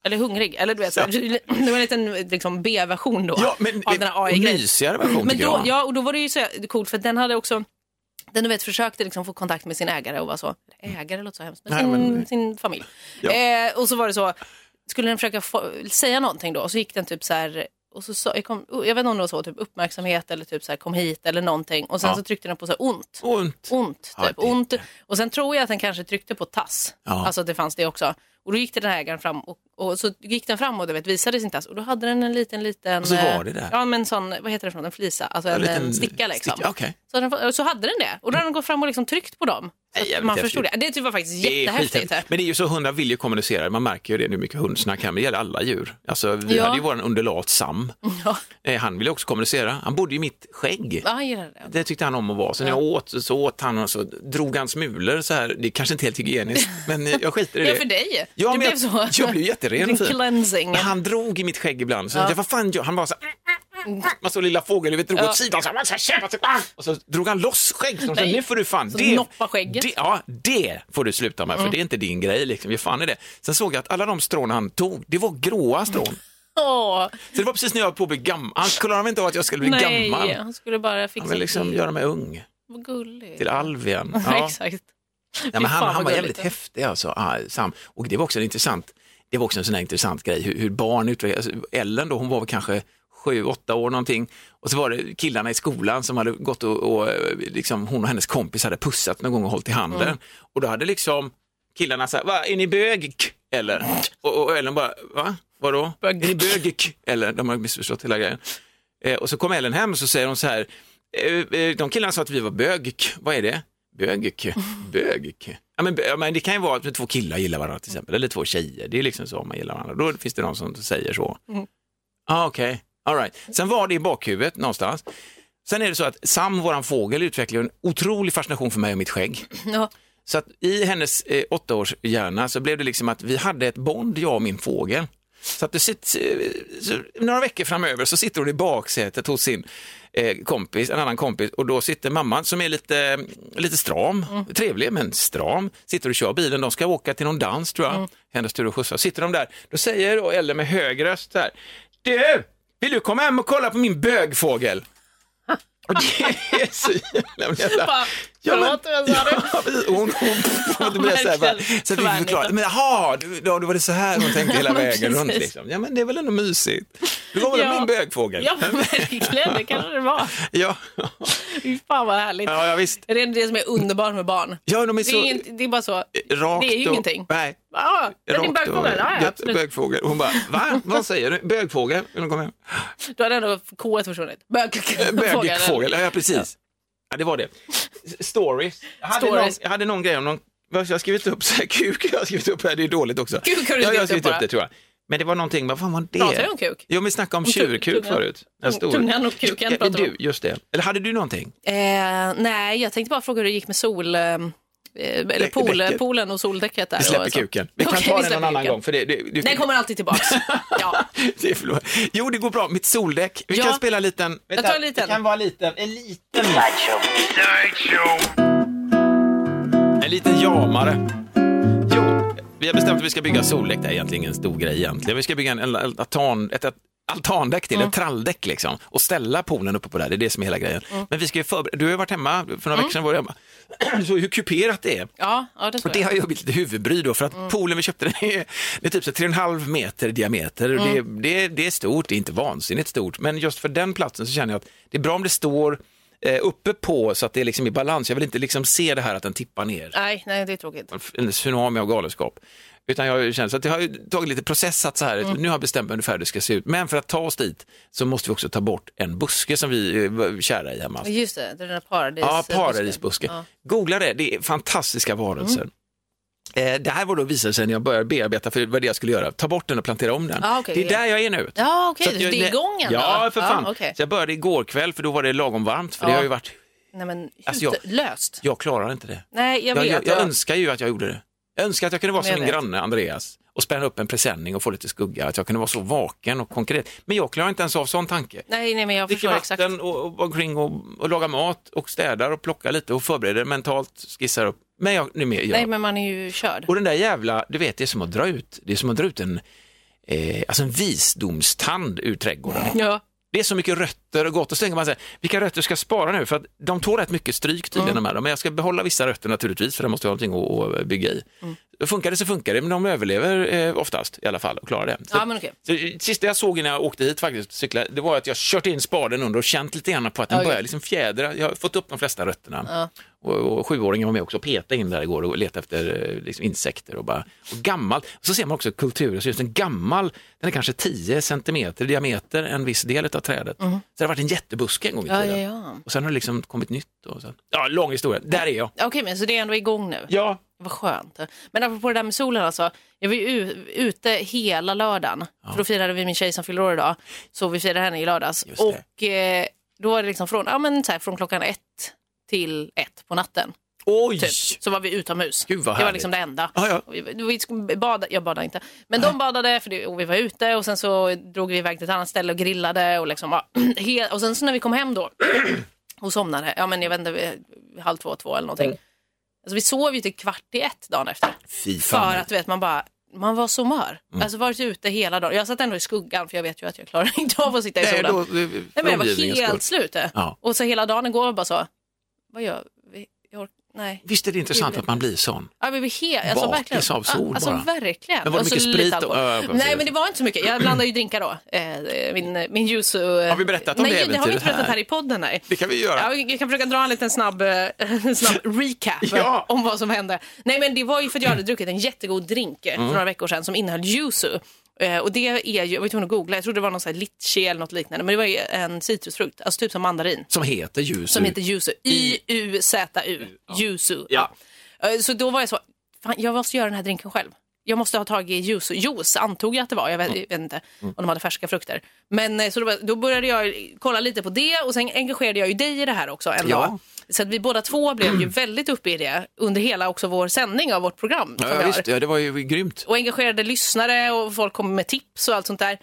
[SPEAKER 4] Eller hungrig, eller du vet, så.
[SPEAKER 5] Ja.
[SPEAKER 4] <laughs> det var en liten liksom, B-version då.
[SPEAKER 5] Ja, men-
[SPEAKER 4] av den här
[SPEAKER 5] och
[SPEAKER 4] AI-grejen.
[SPEAKER 5] mysigare version,
[SPEAKER 4] men
[SPEAKER 5] tycker
[SPEAKER 4] då,
[SPEAKER 5] jag.
[SPEAKER 4] Ja, och då var det ju så coolt för den hade också, den du vet försökte liksom få kontakt med sin ägare och var så, ägare låter så hemskt, men
[SPEAKER 5] Nej,
[SPEAKER 4] sin,
[SPEAKER 5] men-
[SPEAKER 4] sin familj.
[SPEAKER 5] Ja.
[SPEAKER 4] Eh, och så var det så, skulle den försöka få, säga någonting då och så gick den typ så här, och så sa, jag, kom, jag vet inte om det var så, typ uppmärksamhet eller typ så här kom hit eller någonting och sen
[SPEAKER 5] Ja.
[SPEAKER 4] så tryckte den på så här ont.
[SPEAKER 5] Ont.
[SPEAKER 4] Ont, typ.
[SPEAKER 5] Ja, det-
[SPEAKER 4] ont. Och sen tror jag att den kanske tryckte på tass.
[SPEAKER 5] Ja.
[SPEAKER 4] Alltså att det fanns det också. Och då gick den här ägaren fram och, och så gick den fram och du vet, visade sin tass och då hade den en liten, liten...
[SPEAKER 5] Och så var
[SPEAKER 4] eh,
[SPEAKER 5] det där.
[SPEAKER 4] Ja, men sån, vad heter det för något, en flisa? Alltså en,
[SPEAKER 5] liten
[SPEAKER 4] en sticka liksom.
[SPEAKER 5] sticka, okej.
[SPEAKER 4] så, hade den, så hade den det. Och då hade den gått fram och liksom tryckt på dem. Så att
[SPEAKER 5] jävligt
[SPEAKER 4] man förstod det.
[SPEAKER 5] häftigt.
[SPEAKER 4] Det typ var faktiskt
[SPEAKER 5] Det är
[SPEAKER 4] jättehäftigt.
[SPEAKER 5] skithäftigt. Men det är ju så hundar vill ju kommunicera. Man märker ju det nu mycket hundsnack här, men det gäller alla djur. Alltså, vi
[SPEAKER 4] Ja.
[SPEAKER 5] hade ju vår underlat Sam.
[SPEAKER 4] <laughs> Ja.
[SPEAKER 5] Eh, Han ville också kommunicera. Han bodde ju i mitt skägg.
[SPEAKER 4] Ja, han gillade det.
[SPEAKER 5] Det tyckte han om att vara. Så när jag åt så åt han och så drog han smulor så här. Det är kanske inte
[SPEAKER 4] <laughs>
[SPEAKER 5] helt hygieniskt, men eh, jag skiter i det.
[SPEAKER 4] Ja, för dig.
[SPEAKER 5] Ja,
[SPEAKER 4] du
[SPEAKER 5] men
[SPEAKER 4] blev så.
[SPEAKER 5] jag, jag blev jätteren
[SPEAKER 4] <laughs>
[SPEAKER 5] och
[SPEAKER 4] Din
[SPEAKER 5] fin.
[SPEAKER 4] cleansing.
[SPEAKER 5] Men han drog i mitt skägg ibland. Så
[SPEAKER 4] Ja. Mm.
[SPEAKER 5] jag, vad fan gör han? var så här, man såg lilla fågeln, du vet, drog
[SPEAKER 4] Ja.
[SPEAKER 5] åt sidan så här, man så här, kämpar, så här, Ah!" och så drog han loss skägg. Så
[SPEAKER 4] Nej.
[SPEAKER 5] nu får du fan,
[SPEAKER 4] Så
[SPEAKER 5] det,
[SPEAKER 4] noppa skägget. Mm.
[SPEAKER 5] det, ja, det får du sluta med, för det är inte din grej liksom. Ge fan i det. Sen såg jag att alla de strån han tog, det var gråa
[SPEAKER 4] Mm.
[SPEAKER 5] strån.
[SPEAKER 4] Åh,
[SPEAKER 5] Så det var precis när jag höll på att bli gammal. Han klarade inte av att jag skulle bli
[SPEAKER 4] nej.
[SPEAKER 5] gammal.
[SPEAKER 4] Han skulle bara
[SPEAKER 5] Han
[SPEAKER 4] fixa
[SPEAKER 5] ville liksom
[SPEAKER 4] till.
[SPEAKER 5] göra mig ung,
[SPEAKER 4] Vad gulligt.
[SPEAKER 5] till Alvien.
[SPEAKER 4] <laughs> Ja. Exakt.
[SPEAKER 5] Ja,
[SPEAKER 4] Fy
[SPEAKER 5] men
[SPEAKER 4] fan,
[SPEAKER 5] han,
[SPEAKER 4] vad
[SPEAKER 5] han var
[SPEAKER 4] gulligt.
[SPEAKER 5] jävligt häftig alltså, ah, Sam. Och det var också en intressant Det var också en sån här intressant grej, hur, hur barn utvecklas. Alltså, Ellen då, hon var väl kanske sju, åtta år någonting. Och så var det killarna i skolan som hade gått och, och eh, liksom, hon och hennes kompis hade pussat någon gång och hållit i handen.
[SPEAKER 10] Mm.
[SPEAKER 5] Och då hade liksom killarna sagt, va, är ni bög? k- Eller? Och, och Ellen bara, va? Vadå? Är ni bög? k-?" Eller? De har missförstått hela grejen. Eh, och så kom Ellen hem och så säger hon så här, "Eh, eh, de killarna sa att vi var bög, k." vad är det? Bög, k. bög. k." Ja, men, bö- ja, men det kan ju vara att två killar gillar varandra till exempel, eller två tjejer, det är liksom så om man gillar varandra. Då finns det någon som säger så.
[SPEAKER 10] Mm.
[SPEAKER 5] Ah, Okej, All right. sen var det i bakhuvudet någonstans. Sen är det så att Sam, våran fågel, utvecklar ju en otrolig fascination för mig och mitt skägg.
[SPEAKER 4] Ja.
[SPEAKER 5] Så att i hennes eh, åttaårs hjärna så blev det liksom att vi hade ett bond, jag och min fågel. Så att du sitter, så, några veckor framöver så sitter hon i baksätet hos sin eh, kompis, en annan kompis och då sitter mamman som är lite, lite stram,
[SPEAKER 10] Mm.
[SPEAKER 5] trevlig men stram, sitter och kör bilen, de ska åka till någon dans tror jag,
[SPEAKER 10] Mm.
[SPEAKER 5] hennes tur att skjutsa, sitter de där, då säger då Ellen med hög röst så här, du, vill du komma hem och kolla på
[SPEAKER 10] <laughs>
[SPEAKER 5] min bögfågel? Och det är så jävla... jävla-
[SPEAKER 10] Förlåt, vad sa du?
[SPEAKER 5] Ja, precis. Och hon, hon, hon, hon blev så här, bara, så att vi förklarade, men jaha, du, då, då var det så här hon tänkte hela
[SPEAKER 10] Ja, men
[SPEAKER 5] vägen runt.
[SPEAKER 10] precis.
[SPEAKER 5] Liksom. Ja, men det är väl ändå mysigt. Du var väl
[SPEAKER 4] Ja.
[SPEAKER 5] min bögfågel?
[SPEAKER 4] Ja, <laughs> men verkligen. Det kanske det var.
[SPEAKER 5] ja.
[SPEAKER 4] Fy fan vad härligt.
[SPEAKER 5] Ja, ja, visst.
[SPEAKER 4] Det är det som är underbart med barn.
[SPEAKER 5] Ja, de är
[SPEAKER 4] det,
[SPEAKER 5] så-
[SPEAKER 4] är inte, det är bara så.
[SPEAKER 5] Rakt
[SPEAKER 4] det är ju
[SPEAKER 5] och,
[SPEAKER 4] ingenting.
[SPEAKER 5] Nej.
[SPEAKER 4] Ah, det är din
[SPEAKER 5] Rakt och,
[SPEAKER 4] bögfågel. Ja, ja,
[SPEAKER 5] ja,
[SPEAKER 4] absolut.
[SPEAKER 5] bögfågel. Hon bara, va? Vad säger du? Bögfågel? Vill hon komma hem?
[SPEAKER 4] Då hade ändå K försvunnit. Bögfågel. Eh,
[SPEAKER 5] Bögfågel, ja precis. Ja, det var det. S- Stories. Jag hade,
[SPEAKER 4] Stories.
[SPEAKER 5] Någon, jag hade någon grej om någon, vad jag har skrivit upp så här, kuk har jag skrivit upp här, det är dåligt också.
[SPEAKER 4] Kuk har du
[SPEAKER 5] Ja, jag har
[SPEAKER 4] skrivit
[SPEAKER 5] skrivit
[SPEAKER 4] upp
[SPEAKER 5] upp,
[SPEAKER 4] bara.
[SPEAKER 5] det tror jag. Men det var någonting, vad fan var det?
[SPEAKER 4] Pratar jag om kuk?
[SPEAKER 5] Jo, men snacka om
[SPEAKER 4] Om tu-
[SPEAKER 5] tjurkuk
[SPEAKER 4] tungan.
[SPEAKER 5] förut. Den stor.
[SPEAKER 4] Tungan och kuken
[SPEAKER 5] Ja,
[SPEAKER 4] pratar vi om.
[SPEAKER 5] du, just det. Eller hade du någonting?
[SPEAKER 4] Eh, nej, jag tänkte bara fråga hur det gick med sol... Eh, eller
[SPEAKER 5] Däck-
[SPEAKER 4] pool,
[SPEAKER 5] däcket.
[SPEAKER 4] poolen och soldäcket där.
[SPEAKER 5] Vi
[SPEAKER 4] och
[SPEAKER 5] släpper
[SPEAKER 4] så.
[SPEAKER 5] kuken. Vi kan
[SPEAKER 4] Okej,
[SPEAKER 5] ta den
[SPEAKER 4] släpper
[SPEAKER 5] någon annan
[SPEAKER 4] kuken.
[SPEAKER 5] gång. För det, det, du,
[SPEAKER 4] Den kommer alltid
[SPEAKER 5] <laughs>
[SPEAKER 4] tillbaks.
[SPEAKER 5] det är förlåt. Jo, det går bra. Mitt soldäck. Vi
[SPEAKER 4] Ja.
[SPEAKER 5] kan spela en liten...
[SPEAKER 4] Jag tar en liten.
[SPEAKER 5] Det kan vara liten. En liten. En liten jamare. Jo, vi har bestämt att vi ska bygga soldäck. Det är egentligen ingen stor grej egentligen. Vi ska bygga en, en, altan, ett, ett altandäck till, ett tralldäck liksom. Och ställa poolen uppe på det här. Det är det som är hela grejen. Men vi ska ju förbereda. Du har ju varit hemma för
[SPEAKER 4] Mm.
[SPEAKER 5] några veckor sedan. Var du hemma. <clears throat> Du såg ju hur kuperat det är.
[SPEAKER 4] Ja, ja, det
[SPEAKER 5] Och
[SPEAKER 4] tror
[SPEAKER 5] det
[SPEAKER 4] jag.
[SPEAKER 5] har ju blivit lite huvudbry då för att
[SPEAKER 4] Mm.
[SPEAKER 5] poolen vi köpte <laughs> den är, det är typ så 3,5 meter i diameter. och Det,
[SPEAKER 4] Mm.
[SPEAKER 5] det, det är stort, det är inte vansinnigt stort, men just för den platsen så känner jag att det är bra om det står eh, uppe på så att det är liksom i balans. Jag vill inte liksom se det här att den tippar ner,
[SPEAKER 4] Nej, nej, det är tråkigt.
[SPEAKER 5] en tsunami av galenskap. Utan jag känner så att det har ju tagit lite processat så här,
[SPEAKER 4] Mm.
[SPEAKER 5] nu har jag bestämt mig ungefär hur det ska se ut. Men för att ta oss dit så måste vi också ta bort en buske som vi eh, var kära i hemma.
[SPEAKER 4] Just det, det är den där paradis...
[SPEAKER 5] Ja, paradisbuske.
[SPEAKER 4] Ja. Mm.
[SPEAKER 5] Googla det, det är fantastiska varelser. Eh, Det här var då visade sig när jag började bearbeta, för det var det jag skulle göra, ta bort den och plantera om den.
[SPEAKER 4] Ah, okej,
[SPEAKER 5] det är
[SPEAKER 4] ja.
[SPEAKER 5] där jag är nu.
[SPEAKER 4] Ja, okej,
[SPEAKER 5] Så att
[SPEAKER 4] så
[SPEAKER 5] jag-
[SPEAKER 4] det är igång ändå?
[SPEAKER 5] Ja, för
[SPEAKER 4] Ja,
[SPEAKER 5] fan.
[SPEAKER 4] Ah, okej.
[SPEAKER 5] Så jag började igår kväll, för då var det lagom varmt, för det
[SPEAKER 4] Ja.
[SPEAKER 5] har ju varit,
[SPEAKER 4] Nej, men hut,
[SPEAKER 5] Alltså, jag-
[SPEAKER 4] löst.
[SPEAKER 5] jag klarar inte det.
[SPEAKER 4] Nej, jag
[SPEAKER 5] jag,
[SPEAKER 4] vet.
[SPEAKER 5] jag, önskar ju att jag gjorde det. Jag önskar att jag kunde vara
[SPEAKER 4] Men jag
[SPEAKER 5] som min
[SPEAKER 4] vet.
[SPEAKER 5] granne Andreas och spänna upp en presenning och få lite skugga, att jag kunde vara så vaken och konkret. Men jag klarar inte ens av sån tanke.
[SPEAKER 4] Nej, nej, men jag
[SPEAKER 5] Dricker
[SPEAKER 4] förstår exakt.
[SPEAKER 5] vatten och, och, går omkring och, och lagar mat och städar och plockar lite och förbereder mentalt, skissar upp. Men jag, nu mer, jag,
[SPEAKER 4] Nej, men man är ju körd.
[SPEAKER 5] Och den där jävla, du vet, det är som att dra ut, det är som att dra ut en, eh, alltså en visdomstand ur trädgården.
[SPEAKER 4] Ja.
[SPEAKER 5] Det är så mycket rötter och gott och så tänker man så här, vilka rötter ska jag spara nu? För att de tål rätt mycket stryk tydligen de här, men jag ska behålla vissa rötter naturligtvis för det måste jag ha någonting att, att bygga i.
[SPEAKER 4] Mm.
[SPEAKER 5] Funkar det så funkar det, men de överlever eh, oftast i alla fall och klarar det. Så,
[SPEAKER 4] Ja, men okej.
[SPEAKER 5] så, eh, sista jag såg innan jag åkte hit faktiskt, cykla, det var att jag kört in spaden under och känt lite grann på att den
[SPEAKER 4] Oj.
[SPEAKER 5] börjar liksom fjädra. Jag har fått upp de flesta rötterna.
[SPEAKER 4] Ja.
[SPEAKER 5] Och, och sjuåringen var med också och petade in där igår och letade efter eh, liksom, insekter och bara, och gammalt, så ser man också kulturen, så just en gammal, den är kanske 10 centimeter i diameter, en viss del av trädet.
[SPEAKER 4] Mm.
[SPEAKER 5] Så det har varit en jättebuske en gång i
[SPEAKER 4] Ja,
[SPEAKER 5] tiden.
[SPEAKER 4] ja, ja.
[SPEAKER 5] Och sen har det liksom kommit nytt. Och sen... Ja, lång historia, där är jag.
[SPEAKER 4] Okej, men så det är ändå igång nu?
[SPEAKER 5] Ja.
[SPEAKER 4] Vad skönt. Men apropå det där med solen alltså. Jag var ju u- ute hela lördagen. För då firade vi min tjej som fyller år idag. Så vi firade henne i lördags. Och eh, då var det liksom från, ja, men så här, från klockan ett till ett på natten.
[SPEAKER 5] Oj!
[SPEAKER 4] Typ, Så var vi utomhus.
[SPEAKER 5] Gud, vad
[SPEAKER 4] det var
[SPEAKER 5] härligt.
[SPEAKER 4] liksom det enda.
[SPEAKER 5] Ja, ja.
[SPEAKER 4] Och Vi, vi sk- bada, jag badade inte. Men de badade för det, och vi var ute och sen så drog vi iväg till ett annat ställe och grillade. Och, liksom, ja, <clears throat> he- och sen så när vi kom hem då <clears throat> och somnade, ja men jag vet inte, vi- halv två, två eller
[SPEAKER 5] Mm.
[SPEAKER 4] någonting. Alltså vi sov ju till kvart i ett dagen efter.
[SPEAKER 5] Fy
[SPEAKER 4] För att du vet, man bara, man var så mör.
[SPEAKER 5] Mm.
[SPEAKER 4] Alltså varit ute hela dagen. Jag satt ändå i skuggan för jag vet ju att jag klarar <laughs> inte av att sitta i
[SPEAKER 5] Nej,
[SPEAKER 4] solen.
[SPEAKER 5] då- det-
[SPEAKER 4] Nej, men jag var
[SPEAKER 5] omgivningens
[SPEAKER 4] helt
[SPEAKER 5] skull.
[SPEAKER 4] slut. eh.
[SPEAKER 5] Ja.
[SPEAKER 4] Och så hela dagen igår var bara så, vad gör vi? Jag ork- Nej.
[SPEAKER 5] Visst är det intressant att man blir sån?
[SPEAKER 4] Ja, men vi he- alltså,
[SPEAKER 5] Bakis
[SPEAKER 4] verkligen.
[SPEAKER 5] av sol
[SPEAKER 4] alltså,
[SPEAKER 5] bara.
[SPEAKER 4] Verkligen.
[SPEAKER 5] Men var det
[SPEAKER 4] Och så
[SPEAKER 5] mycket
[SPEAKER 4] lite
[SPEAKER 5] sprit och-
[SPEAKER 4] alkohol.
[SPEAKER 5] Ja, ja, precis.
[SPEAKER 4] Nej, men det var inte så mycket. Jag blandade ju drinkar då. Eh, Min, min juice och... eh,
[SPEAKER 5] Har vi berättat om
[SPEAKER 4] nej,
[SPEAKER 5] det
[SPEAKER 4] Nej, det har vi
[SPEAKER 5] äventyret
[SPEAKER 4] inte berättat
[SPEAKER 5] här?
[SPEAKER 4] här i podden. Nej.
[SPEAKER 5] Det kan vi göra.
[SPEAKER 4] Ja, vi- jag kan försöka dra en liten snabb, eh, <laughs> en snabb recap
[SPEAKER 5] <laughs> Ja.
[SPEAKER 4] om vad som hände. Nej, men det var ju för att jag hade druckit en jättegod drink eh, för
[SPEAKER 10] Mm.
[SPEAKER 4] några veckor sedan som innehöll yuzu. Eh, Och det är ju, jag var tvungen att googla, jag trodde det var någon sån här litchi eller något liknande, men det var ju en citrusfrukt, alltså typ som mandarin.
[SPEAKER 5] Som heter ljus.
[SPEAKER 4] Som heter Yuzu. Y-U-Z-U. Yuzu. Ja. Eh, Så då var jag så, fan, jag måste göra den här drinken själv. Jag måste ha tagit juice. Juice antog jag att det var. Jag vet, vet inte
[SPEAKER 5] Mm.
[SPEAKER 4] om de hade färska frukter. Men eh, så då, då började jag kolla lite på det och sen engagerade jag ju dig i det här också en
[SPEAKER 5] Ja.
[SPEAKER 4] dag. Så att vi båda två blev ju väldigt uppe i det under hela också vår sändning av vårt program. som
[SPEAKER 5] Ja,
[SPEAKER 4] vi
[SPEAKER 5] ja,
[SPEAKER 4] har.
[SPEAKER 5] visst, ja, det var ju grymt.
[SPEAKER 4] Och engagerade lyssnare och folk kom med tips och allt sånt där.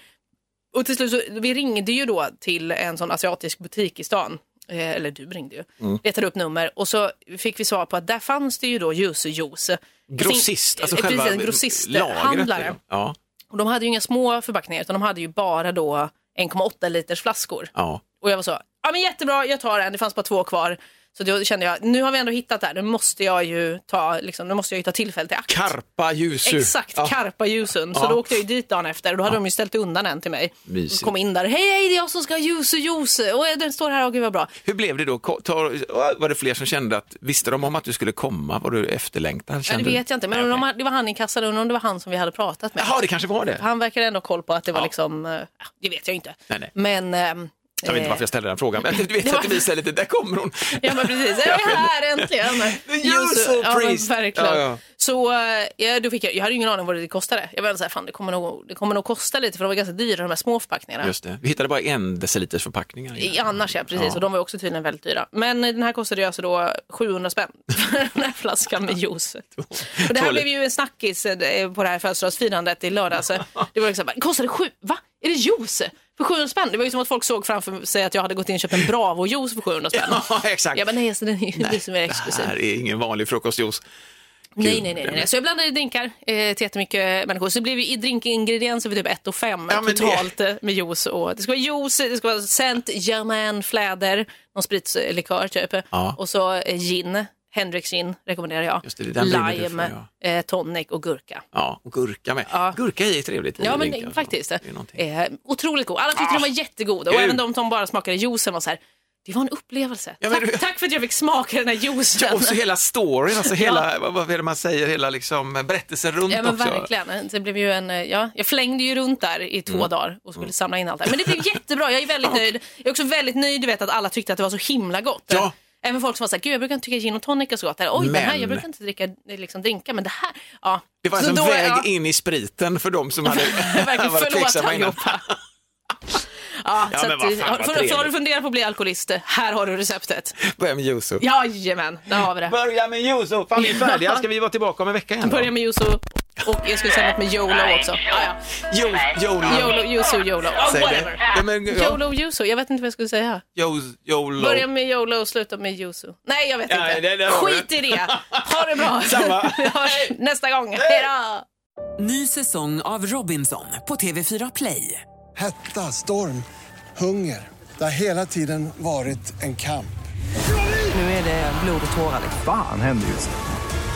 [SPEAKER 4] Och till slut så, vi ringde ju då till en sån asiatisk butik i stan. Eh, eller du ringde ju.
[SPEAKER 5] Mm.
[SPEAKER 4] Letade upp nummer och så fick vi svar på att där fanns det ju då juicejuice.
[SPEAKER 5] Grossist, alltså
[SPEAKER 4] Eh,
[SPEAKER 5] själva
[SPEAKER 4] Precis, en
[SPEAKER 5] lagret.
[SPEAKER 4] grossisthandlare.
[SPEAKER 5] Ja.
[SPEAKER 4] Och de hade ju inga små förpackningar utan de hade ju bara då 1,8 liters flaskor.
[SPEAKER 5] Ja.
[SPEAKER 4] Och jag var så, ja men jättebra, jag tar en, det fanns bara två kvar. Så då kände jag, nu har vi ändå hittat det här, nu måste jag ju ta, liksom, nu måste jag ju ta tillfället i akt.
[SPEAKER 5] Karpa ljusu.
[SPEAKER 4] Exakt,
[SPEAKER 5] Ja.
[SPEAKER 4] karpa ljusen. Så
[SPEAKER 5] Ja.
[SPEAKER 4] då åkte jag ju dit dagen efter och då hade de ju ställt undan en till mig.
[SPEAKER 5] Mysigt.
[SPEAKER 4] Kom in där, hej hej det är jag som ska ha ljus och ljus. Och eh, den står här, åh gud vad bra.
[SPEAKER 5] Hur blev det då? Ko- tar- Var det fler som kände att, visste de om att du skulle komma? Var du efterlängtad?
[SPEAKER 4] Ja, det vet jag inte, men undrar om det var han i kassan, undrar om det var han som vi hade pratat med.
[SPEAKER 5] Jaha, det kanske var det.
[SPEAKER 4] Han verkade ändå ha koll på att det var liksom, eh, ja, det vet jag inte.
[SPEAKER 5] Nej, nej.
[SPEAKER 4] Men... ehm,
[SPEAKER 5] Jag vet inte
[SPEAKER 4] eh,
[SPEAKER 5] varför jag ställde den frågan, men du
[SPEAKER 4] <laughs>
[SPEAKER 5] vet
[SPEAKER 4] Det var-
[SPEAKER 5] att det visar lite, där kommer hon.
[SPEAKER 4] <laughs> Ja men
[SPEAKER 5] <laughs>
[SPEAKER 4] precis, jag är här äntligen.
[SPEAKER 5] Yuzu
[SPEAKER 4] ja, men
[SPEAKER 5] priest.
[SPEAKER 4] verkligen.
[SPEAKER 5] Ja, ja.
[SPEAKER 4] Så eh, ja, då fick jag, jag hade ju ingen aning vad det kostade. Jag var så här, fan det kommer, nog, det kommer nog kosta lite för de var ganska dyra de här små förpackningarna.
[SPEAKER 5] Just det. Vi hittade bara en deciliters förpackningar.
[SPEAKER 4] I, annars ja, precis.
[SPEAKER 5] Ja.
[SPEAKER 4] Och de var också tydligen väldigt dyra. Men eh, den här kostade ju alltså då 700 spänn <laughs> för den här flaskan med juice. Och det här
[SPEAKER 5] Tolv.
[SPEAKER 4] blev ju en snackis eh, på det här födelsedagsfirandet i lördags. Det var liksom, bara, kostade sju, va? Är det juice? För 700 spänn? Det var ju som att folk såg framför sig att jag hade gått in och köpt en Bravo-juice för 700 spänn.
[SPEAKER 5] <laughs> Ja, exakt.
[SPEAKER 4] Jag bara, nej, alltså, den är ju det som är
[SPEAKER 5] Det
[SPEAKER 4] exklusiv.
[SPEAKER 5] här är ingen vanlig frukostjuice.
[SPEAKER 4] Nej, nej, nej, nej. nej. Så jag blandade i drinkar eh, till jättemycket människor. Så det blev ju i drinkingredienser för typ 1 och 5
[SPEAKER 5] Ja, men
[SPEAKER 4] totalt eh, med juice. Och, det ska vara juice, det ska vara Saint Germain fläder, någon spritlikör typ.
[SPEAKER 5] Ja.
[SPEAKER 4] Och så eh, gin, Hendrix gin rekommenderar jag.
[SPEAKER 5] Just det, det där brinner du
[SPEAKER 4] Lime,
[SPEAKER 5] för,
[SPEAKER 4] eh, tonic och gurka.
[SPEAKER 5] Ja, och gurka med. Gurka är ju trevligt. i
[SPEAKER 4] Ja, men
[SPEAKER 5] drinkar.
[SPEAKER 4] faktiskt.
[SPEAKER 5] är någonting.
[SPEAKER 4] eh, otroligt god. Alla tyckte
[SPEAKER 5] Ah.
[SPEAKER 4] den var jättegod. Och
[SPEAKER 5] Gud.
[SPEAKER 4] även de som bara smakade juicen var så här, det var en upplevelse.
[SPEAKER 5] men
[SPEAKER 4] tack, tack för att jag fick smaka den här juicen.
[SPEAKER 5] Ja, och så hela storyn, alltså
[SPEAKER 4] <laughs> Ja.
[SPEAKER 5] hela, vad, vad är det man säger, hela liksom berättelsen runt
[SPEAKER 4] Ja men
[SPEAKER 5] också.
[SPEAKER 4] verkligen. Det blev ju en, eh, ja, jag flängde ju runt där i två
[SPEAKER 5] Mm.
[SPEAKER 4] dagar och skulle
[SPEAKER 5] Mm.
[SPEAKER 4] samla in allt det här. Men det blev jättebra, jag är väldigt nöjd. Jag är också väldigt nöjd du vet att alla tyckte att det var så himla gott.
[SPEAKER 5] Ja.
[SPEAKER 4] Även folk som var såhär, gud jag brukar inte tycka gin och tonic är så gott. Eller, Oj, den här,
[SPEAKER 5] Men-
[SPEAKER 4] jag brukar inte dricka, liksom, drinka, men det här. Ja.
[SPEAKER 5] Det var
[SPEAKER 4] Så
[SPEAKER 5] alltså en
[SPEAKER 4] då-
[SPEAKER 5] väg
[SPEAKER 4] ja.
[SPEAKER 5] in i spriten
[SPEAKER 4] <laughs>
[SPEAKER 5] för de som hade
[SPEAKER 4] Verkligen,
[SPEAKER 5] <laughs> varit
[SPEAKER 4] förlåt
[SPEAKER 5] tveksamma innan.
[SPEAKER 4] allihopa. Ja,
[SPEAKER 5] Ja,
[SPEAKER 4] så
[SPEAKER 5] men
[SPEAKER 4] att,
[SPEAKER 5] vad fan,
[SPEAKER 4] har-
[SPEAKER 5] vad
[SPEAKER 4] för-
[SPEAKER 5] trevligt.
[SPEAKER 4] har du funderat på att bli alkoholist, här har du receptet.
[SPEAKER 5] <laughs> Börja med Yuzu.
[SPEAKER 4] Jajamän, där har vi det.
[SPEAKER 5] Börja med Yuzu, fan vi är färdiga. Ska vi vara tillbaka om en vecka igen då?
[SPEAKER 4] Börja med Yuzu och jag skulle säga något med YOLO också. Ja, ja.
[SPEAKER 5] Jo, Jolo.
[SPEAKER 4] Yolo, Yuzu, Yolo. Oh,
[SPEAKER 5] Säg det.
[SPEAKER 4] whatever.
[SPEAKER 5] Ja, men, ja.
[SPEAKER 4] Yolo, Yuzu. Jag vet inte vad jag skulle säga.
[SPEAKER 5] Yo- Jolo.
[SPEAKER 4] Börja med Yolo och sluta med Yuzu. Nej, jag vet
[SPEAKER 5] Nej,
[SPEAKER 4] inte.
[SPEAKER 5] det- det har
[SPEAKER 4] Skit i det. Ha det bra.
[SPEAKER 1] Samma.
[SPEAKER 4] Vi hörs nästa gång. Hej då!
[SPEAKER 1] Ny säsong av Robinson på TV4 Play.
[SPEAKER 2] Hetta, storm, hunger. Det har hela tiden varit en kamp.
[SPEAKER 1] Nu är det blod och tårar. liksom.
[SPEAKER 3] Fan händer just det.